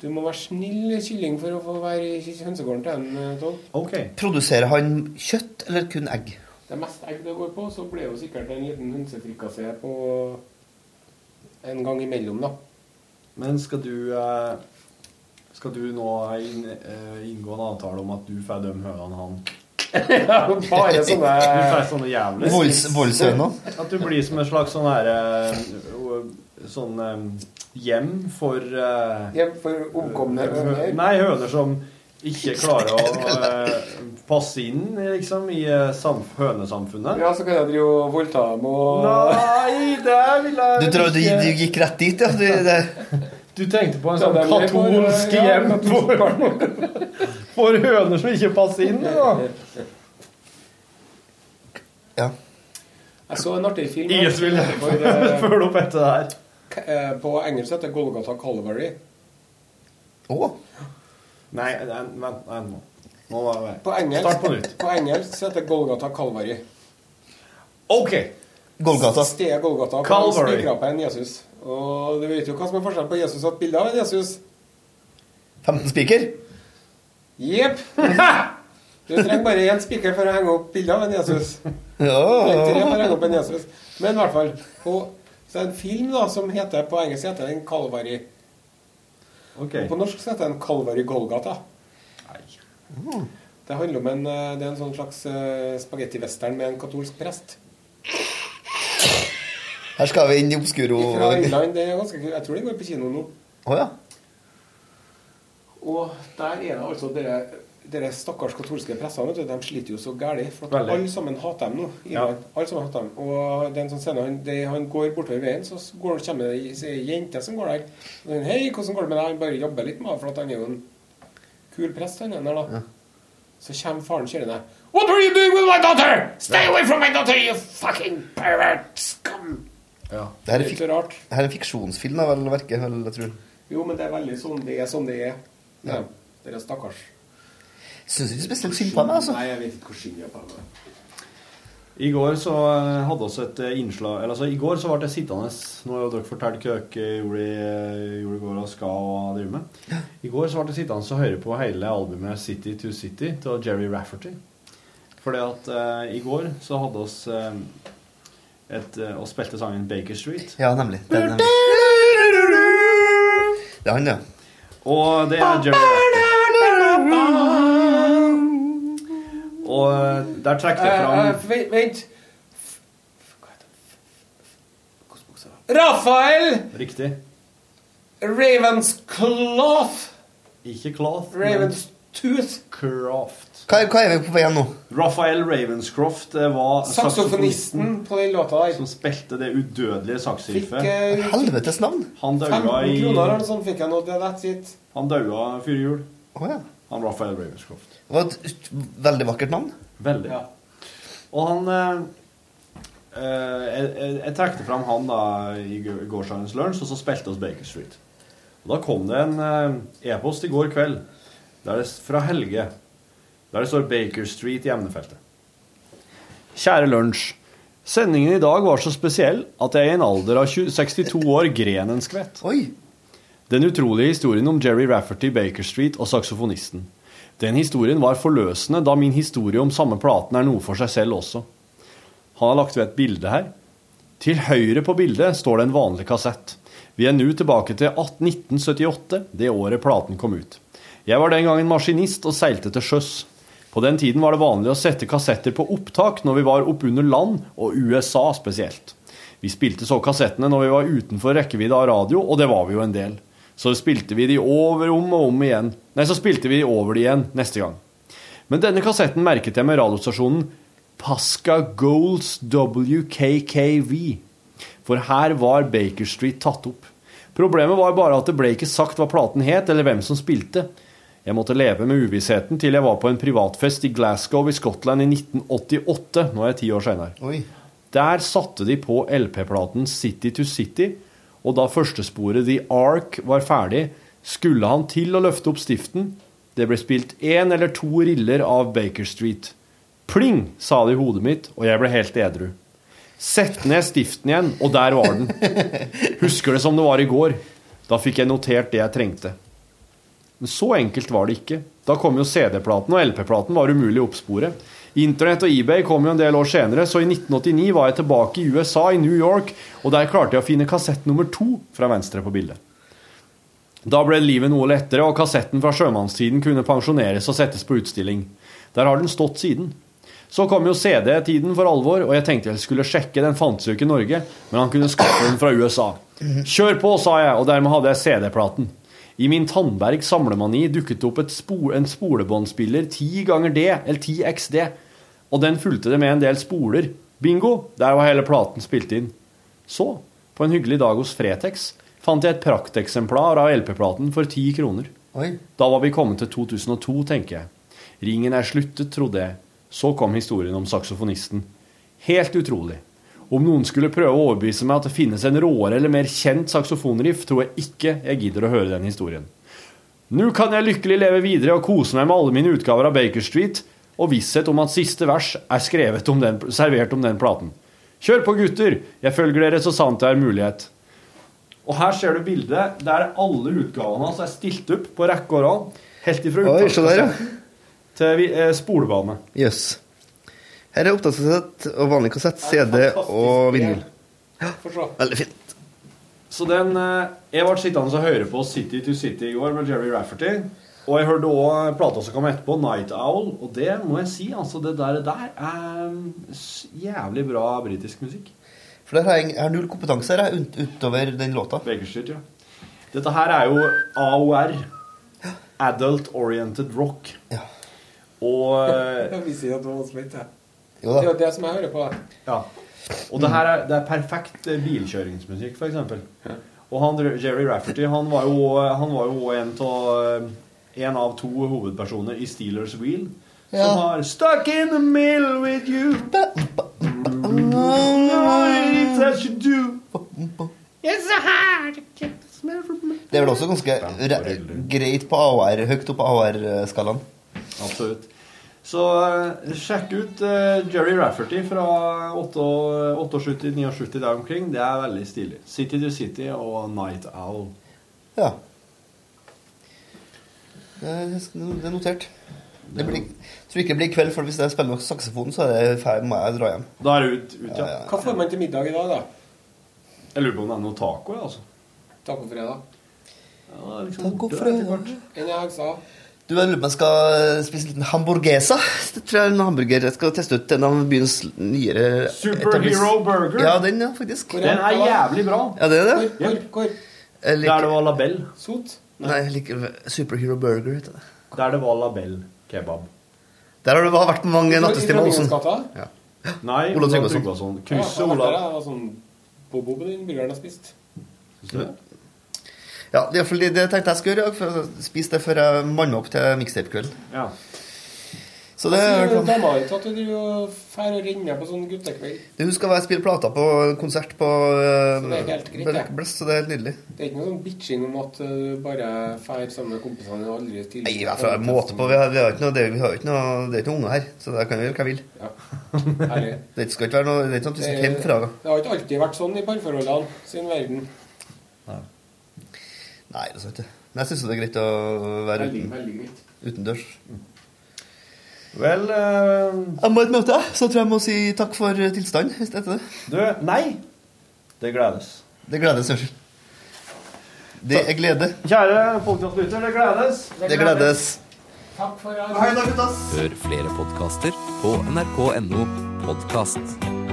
Speaker 7: Du må være snill kylling for å få være i hønsegården til en, eh, Tom.
Speaker 1: Ok.
Speaker 8: Produserer han kjøtt eller kun egg?
Speaker 7: Det er mest egg det går på, så blir det jo sikkert en liten hønsefrikassé på en gang imellom, da.
Speaker 1: Men skal du eh, Skal du nå inn, eh, inngå en avtale om at du får de høna enn han?
Speaker 7: Bare sånne
Speaker 1: Du får sånne jævler?
Speaker 8: Volds- Voldshøna?
Speaker 1: At du blir som en slags sånn her eh, o- Sånn eh, hjem for eh,
Speaker 7: Ja, for omkomne
Speaker 1: hø-
Speaker 7: høner.
Speaker 1: Nei, høner som ikke klarer å eh, passe inn liksom, i eh, sam hønesamfunnet.
Speaker 7: Ja, så kan jeg drive og voldta dem og
Speaker 1: Nei, det ville
Speaker 8: Du, tror du,
Speaker 1: ikke-
Speaker 8: du gikk rett dit, ja? Du, det,
Speaker 1: Du tenkte på en
Speaker 7: Ja,
Speaker 1: sånn
Speaker 7: det er mer for-
Speaker 1: katolsk
Speaker 7: ja,
Speaker 1: hjem
Speaker 7: katolsk
Speaker 1: for, for høner som ikke passer inn? Da.
Speaker 8: ja.
Speaker 7: Jeg Jeg så en artig film
Speaker 1: Ingen som vil
Speaker 7: for, eh,
Speaker 1: følge opp etter det her.
Speaker 7: k- eh, På engelsk heter det Golgata Calvary.
Speaker 8: Å.
Speaker 1: Nei, vent, vent nå. Nå var jeg
Speaker 7: På engelsk,
Speaker 1: Start på nytt.
Speaker 7: på engelsk heter det Golgata Calvary.
Speaker 1: OK.
Speaker 8: Golgata.
Speaker 7: Stedet Golgata på
Speaker 1: Calvary.
Speaker 7: spikra på en Jesus. Og du vet jo hva som er forskjellen på Jesus og et bilde av en Jesus.
Speaker 8: 15 spiker.
Speaker 7: Jepp. Du trenger bare én spiker for å henge opp bilde av en Jesus. Eller tre for å
Speaker 8: Ja.
Speaker 7: henge opp en Jesus. Men i hvert fall. Og, så er det en film da, som heter på engelsk heter den Calvary.
Speaker 1: Ok.
Speaker 7: På norsk så heter den Calvary Golgata. Det handler om en, eh, det er en sånn slags eh, spagettivestern med en katolsk prest.
Speaker 8: Her skal vi inn i obskuro...
Speaker 7: Fra Irland. Det er ganske kult. Jeg tror det går på kino nå.
Speaker 8: Å ja.
Speaker 7: Og der er det altså dere, dere stakkars katolske pressene, vet du, de sliter jo så gærlig, For at
Speaker 1: Veldig.
Speaker 7: alle sammen hater dem nå. i Iran. Alle sammen hater dem. Og det er en sånn scene, han, det, han går bortover veien, så s- går, kommer det ei- ei jente som går der. Og den, 'Hei, hvordan går det med deg?' Han bare jobber litt med henne, for at han er jo en kul prest, han er der, da. Så kommer faren kjørende. 'What are you doing with my daughter? Stay away from my daughter, you fucking pervert scum!'
Speaker 8: Det her
Speaker 7: Det
Speaker 8: er,
Speaker 7: er
Speaker 8: fik
Speaker 7: ikke så rart.
Speaker 8: det her er en fiksjonsfilm, da, vel, verket, vel, jeg tror.
Speaker 7: Jo, men det er veldig sånn det er som det er. Ja. Dere stakkars.
Speaker 8: Syns ikke spesielt synd på meg, altså.
Speaker 7: Nei, jeg vet ikke hvor synd jeg er på det.
Speaker 1: I går så eh, hadde oss et eh, innslag Eller altså, i går så ble jeg sittende Nå har jo dere fortalt hva dere gjorde, i- eh, gjorde i går og skal drive med. I går så ble jeg sittende og høre på hele albumet City to City til Jerry Rafferty. Fordi at eh, i går så hadde oss eh, et, eh, og spilte sangen Baker Street.
Speaker 8: Ja, nemlig. Det er, nemlig. Det er han, ja.
Speaker 1: Og det er Jerry Rafferty. Og eh, der trekte jeg
Speaker 7: Eh, eh,
Speaker 1: fram
Speaker 7: vent, vent. Hva heter det? Hvordan buksa var det? Rafael
Speaker 1: Riktig.
Speaker 7: Ravenscloth
Speaker 1: Ikke Cloth, men
Speaker 7: Ravenstooth
Speaker 1: Craft.
Speaker 8: Hva, hva er vi på vei nå?
Speaker 1: Raphael Ravenscroft det var saksofonisten
Speaker 7: Saksofonisten på den låta der
Speaker 1: som spilte det udødelige
Speaker 7: Fikk
Speaker 1: saksriffet.
Speaker 7: eh,
Speaker 8: Helvetes navn!
Speaker 1: Han daua
Speaker 7: 15
Speaker 1: i
Speaker 7: kroner eller noe sånt fikk jeg nå Det er that's it
Speaker 1: Han daua før jul,
Speaker 8: Å ja.
Speaker 1: han Raphael Ravenscroft.
Speaker 8: Det var et ut- veldig vakkert navn.
Speaker 1: Veldig.
Speaker 7: Ja.
Speaker 1: Og han eh, eh, Jeg, jeg, jeg trekte fram han da i g- gårsdagens lunsj, og så spilte oss Baker Street. Og da kom det en eh, e-post i går kveld der det, s- fra Helge der det står Baker Street i emnefeltet. Kjære lunsj. Sendingen i dag var så spesiell at jeg i en alder av 20 62 år gren en skvett.
Speaker 8: Oi!
Speaker 1: Den utrolige historien om Jerry Rafferty, Baker Street og saksofonisten. Den historien var forløsende, da min historie om samme platen er noe for seg selv også. Han har lagt ved et bilde her. Til høyre på bildet står det en vanlig kassett. Vi er nå tilbake til 18 1978, det året platen kom ut. Jeg var den gangen maskinist og seilte til sjøs. På den tiden var det vanlig å sette kassetter på opptak når vi var oppunder land, og USA spesielt. Vi spilte så kassettene når vi var utenfor rekkevidde av radio, og det var vi jo en del. Så spilte vi de over om og om igjen. Nei, så spilte vi de over de igjen neste gang. Men denne kassetten merket jeg med radiostasjonen Pasca Goals WKKV. For her var Baker Street tatt opp. Problemet var bare at det ble ikke sagt hva platen het, eller hvem som spilte. Jeg måtte leve med uvissheten til jeg var på en privatfest i Glasgow i Skottland i 1988. Nå er jeg ti år seinere.
Speaker 8: Oi.
Speaker 1: Der satte de på LP-platen City to City, og da førstesporet The Ark var ferdig, skulle han til å løfte opp stiften. Det ble spilt én eller to riller av Baker Street. Pling, sa det i hodet mitt, og jeg ble helt edru. Sett ned stiften igjen, og der var den. Husker det som det var i går. Da fikk jeg notert det jeg trengte. Men så enkelt var det ikke. Da kom jo CD-platen, og LP-platen var umulig å oppspore. Internett og eBay kom jo en del år senere, så i 1989 var jeg tilbake i USA, i New York, og der klarte jeg å finne kassett nummer to fra venstre på bildet. Da ble livet noe lettere, og kassetten fra sjømannstiden kunne pensjoneres og settes på utstilling. Der har den stått siden. Så kom jo CD-tiden for alvor, og jeg tenkte jeg skulle sjekke, den fantes jo ikke i Norge, men han kunne skaffe den fra USA. Kjør på, sa jeg, og dermed hadde jeg CD-platen. I min Tandberg samlemani dukket det opp et spo en spolebåndspiller 10 ganger D, eller 10 XD, og den fulgte det med en del spoler. Bingo, der var hele platen spilt inn. Så, på en hyggelig dag hos Fretex, fant jeg et prakteksemplar av LP-platen for 10 kroner.
Speaker 8: Oi.
Speaker 1: Da var vi kommet til 2002, tenker jeg. Ringen er sluttet, trodde jeg. Så kom historien om saksofonisten. Helt utrolig. Om noen skulle prøve å overbevise meg at det finnes en råere eller mer kjent saksofonriff, tror jeg ikke jeg gidder å høre den historien. Nå kan jeg lykkelig leve videre og kose meg med alle mine utgaver av Baker Street, og visshet om at siste vers er skrevet om den, servert om den platen. Kjør på, gutter! Jeg følger dere så sant jeg har mulighet. Og her ser du bildet der alle utgavene hans er stilt opp på rekke og rad. Helt ifra
Speaker 8: Oi, se der, ja.
Speaker 1: uttakskassetten til vi- eh, spolebane.
Speaker 8: Jøss. Her er opptakskassett og vanlig kassett, CD og vinyl. Veldig fint.
Speaker 1: Så den eh, Jeg ble sittende og høre på City to City i går med Jerry Rafferty. Og jeg hørte òg plata som kom etterpå, Night Owl. Og det må jeg si, altså, det der, der er s- jævlig bra britisk musikk.
Speaker 8: For der har jeg, jeg har null kompetanse her, jeg, ut, utover den låta.
Speaker 1: Bakerstyrt, ja. Dette her er jo AOR. Adult Oriented Rock.
Speaker 8: Ja.
Speaker 1: Og eh,
Speaker 2: Jeg vil si at det var spent, jeg.
Speaker 8: Jo
Speaker 2: Det er
Speaker 8: da.
Speaker 2: jo det som jeg hører på. da.
Speaker 1: Ja. Og det her er, det er perfekt eh, bilkjøringsmusikk, for eksempel. Og han, Jerry Rafferty han var jo, han var jo en, av, eh, en av to hovedpersoner i Steelers Wheel. Som har Stuck in the middle with you. It's that you do.
Speaker 8: Det er vel også ganske re greit på AOR, høyt opp på AOR-skalaen.
Speaker 1: Absolutt. Så eh, sjekk ut eh, Jerry Rafferty fra 78-79 der omkring. Det er veldig stilig. City to City og Night Owl.
Speaker 8: Ja. Det er det er notert. Det blir, jeg tror ikke det blir i kveld, for hvis jeg spiller med saksofon, så er det ferdig, må jeg dra hjem.
Speaker 1: Da er det ut, ut ja.
Speaker 2: Hva får man til middag i dag, da?
Speaker 1: Jeg lurer på om det er noe taco, jeg, altså.
Speaker 2: Tacofredag.
Speaker 1: Ja, det er liksom
Speaker 8: Taco
Speaker 1: borte
Speaker 8: fra
Speaker 1: etter hvert.
Speaker 2: Enn jeg sa.
Speaker 8: Du, jeg lurer på om jeg skal eh, spise en liten hamburgesa. Det tror jeg er en hamburger. Jeg skal teste ut en av byens nyere
Speaker 1: Superhero
Speaker 8: etablis-
Speaker 1: burger.
Speaker 8: Ja, den, ja, faktisk.
Speaker 2: Hvor
Speaker 1: Den er jævlig bra.
Speaker 8: Ja, det er det.
Speaker 2: Hvor? Hvor? Hvor?
Speaker 8: Jeg
Speaker 1: Der det
Speaker 8: liker,
Speaker 1: var labell.
Speaker 2: Sot?
Speaker 8: nei, jeg liker Superhero Burger. Heter det.
Speaker 1: Der det var labell kebab.
Speaker 8: Der har du vært mange nattestimer, Olsen.
Speaker 2: Olsen.
Speaker 1: Nei, Ola
Speaker 8: Ola Tryggvason.
Speaker 1: Tryggvason.
Speaker 2: Ja,
Speaker 1: Krysset
Speaker 2: han
Speaker 1: Ola
Speaker 2: der, han var sånn bobo på den burgeren jeg spiste.
Speaker 8: Ja, det, er fordi det tenkte jeg skulle gjøre i dag. for å Spise det før jeg manner opp til mixtape-kvelden.
Speaker 1: Ja.
Speaker 8: Så det er
Speaker 2: Sier
Speaker 8: klart.
Speaker 2: Dama ut at du driver og fær og renner på sånn guttekveld.
Speaker 8: Du husker hva jeg spiller plater på konsert på eh,
Speaker 2: Så det er helt greit,
Speaker 8: Black
Speaker 2: ja.
Speaker 8: Blast, så det er helt nydelig.
Speaker 2: Det er ikke noe sånn bitching om at eh, du bare fær sammen med kompisene og aldri tidligere.
Speaker 8: Nei, i hvert fall er det måte på. Vi har, vi har ikke noe, det, vi har ikke noe, det er ikke noen unger her, så jeg kan gjøre hva jeg vil.
Speaker 2: Ja. Herlig.
Speaker 8: Det skal ikke være noe, det er ikke noe at vi
Speaker 2: Eh,
Speaker 8: stikker hjem fra det.
Speaker 2: Det har ikke alltid vært sånn i parforholdene sin verden.
Speaker 8: Nei, det er sant det. Men jeg syns det er greit å være
Speaker 2: Veldig,
Speaker 8: uten,
Speaker 2: veldig greit.
Speaker 8: utendørs.
Speaker 1: Vel eh,
Speaker 8: Jeg må i et møte, så tror jeg jeg må si takk for eh, tilstand hvis det heter det.
Speaker 1: Du, nei. Det gledes.
Speaker 8: Det gledes, unnskyld. Det er glede.
Speaker 1: Kjære podkastlytter, det gledes.
Speaker 8: Det gledes.
Speaker 2: Takk for at
Speaker 8: Hei da, guttas.
Speaker 11: Hør flere podkaster på nrk.no podkast.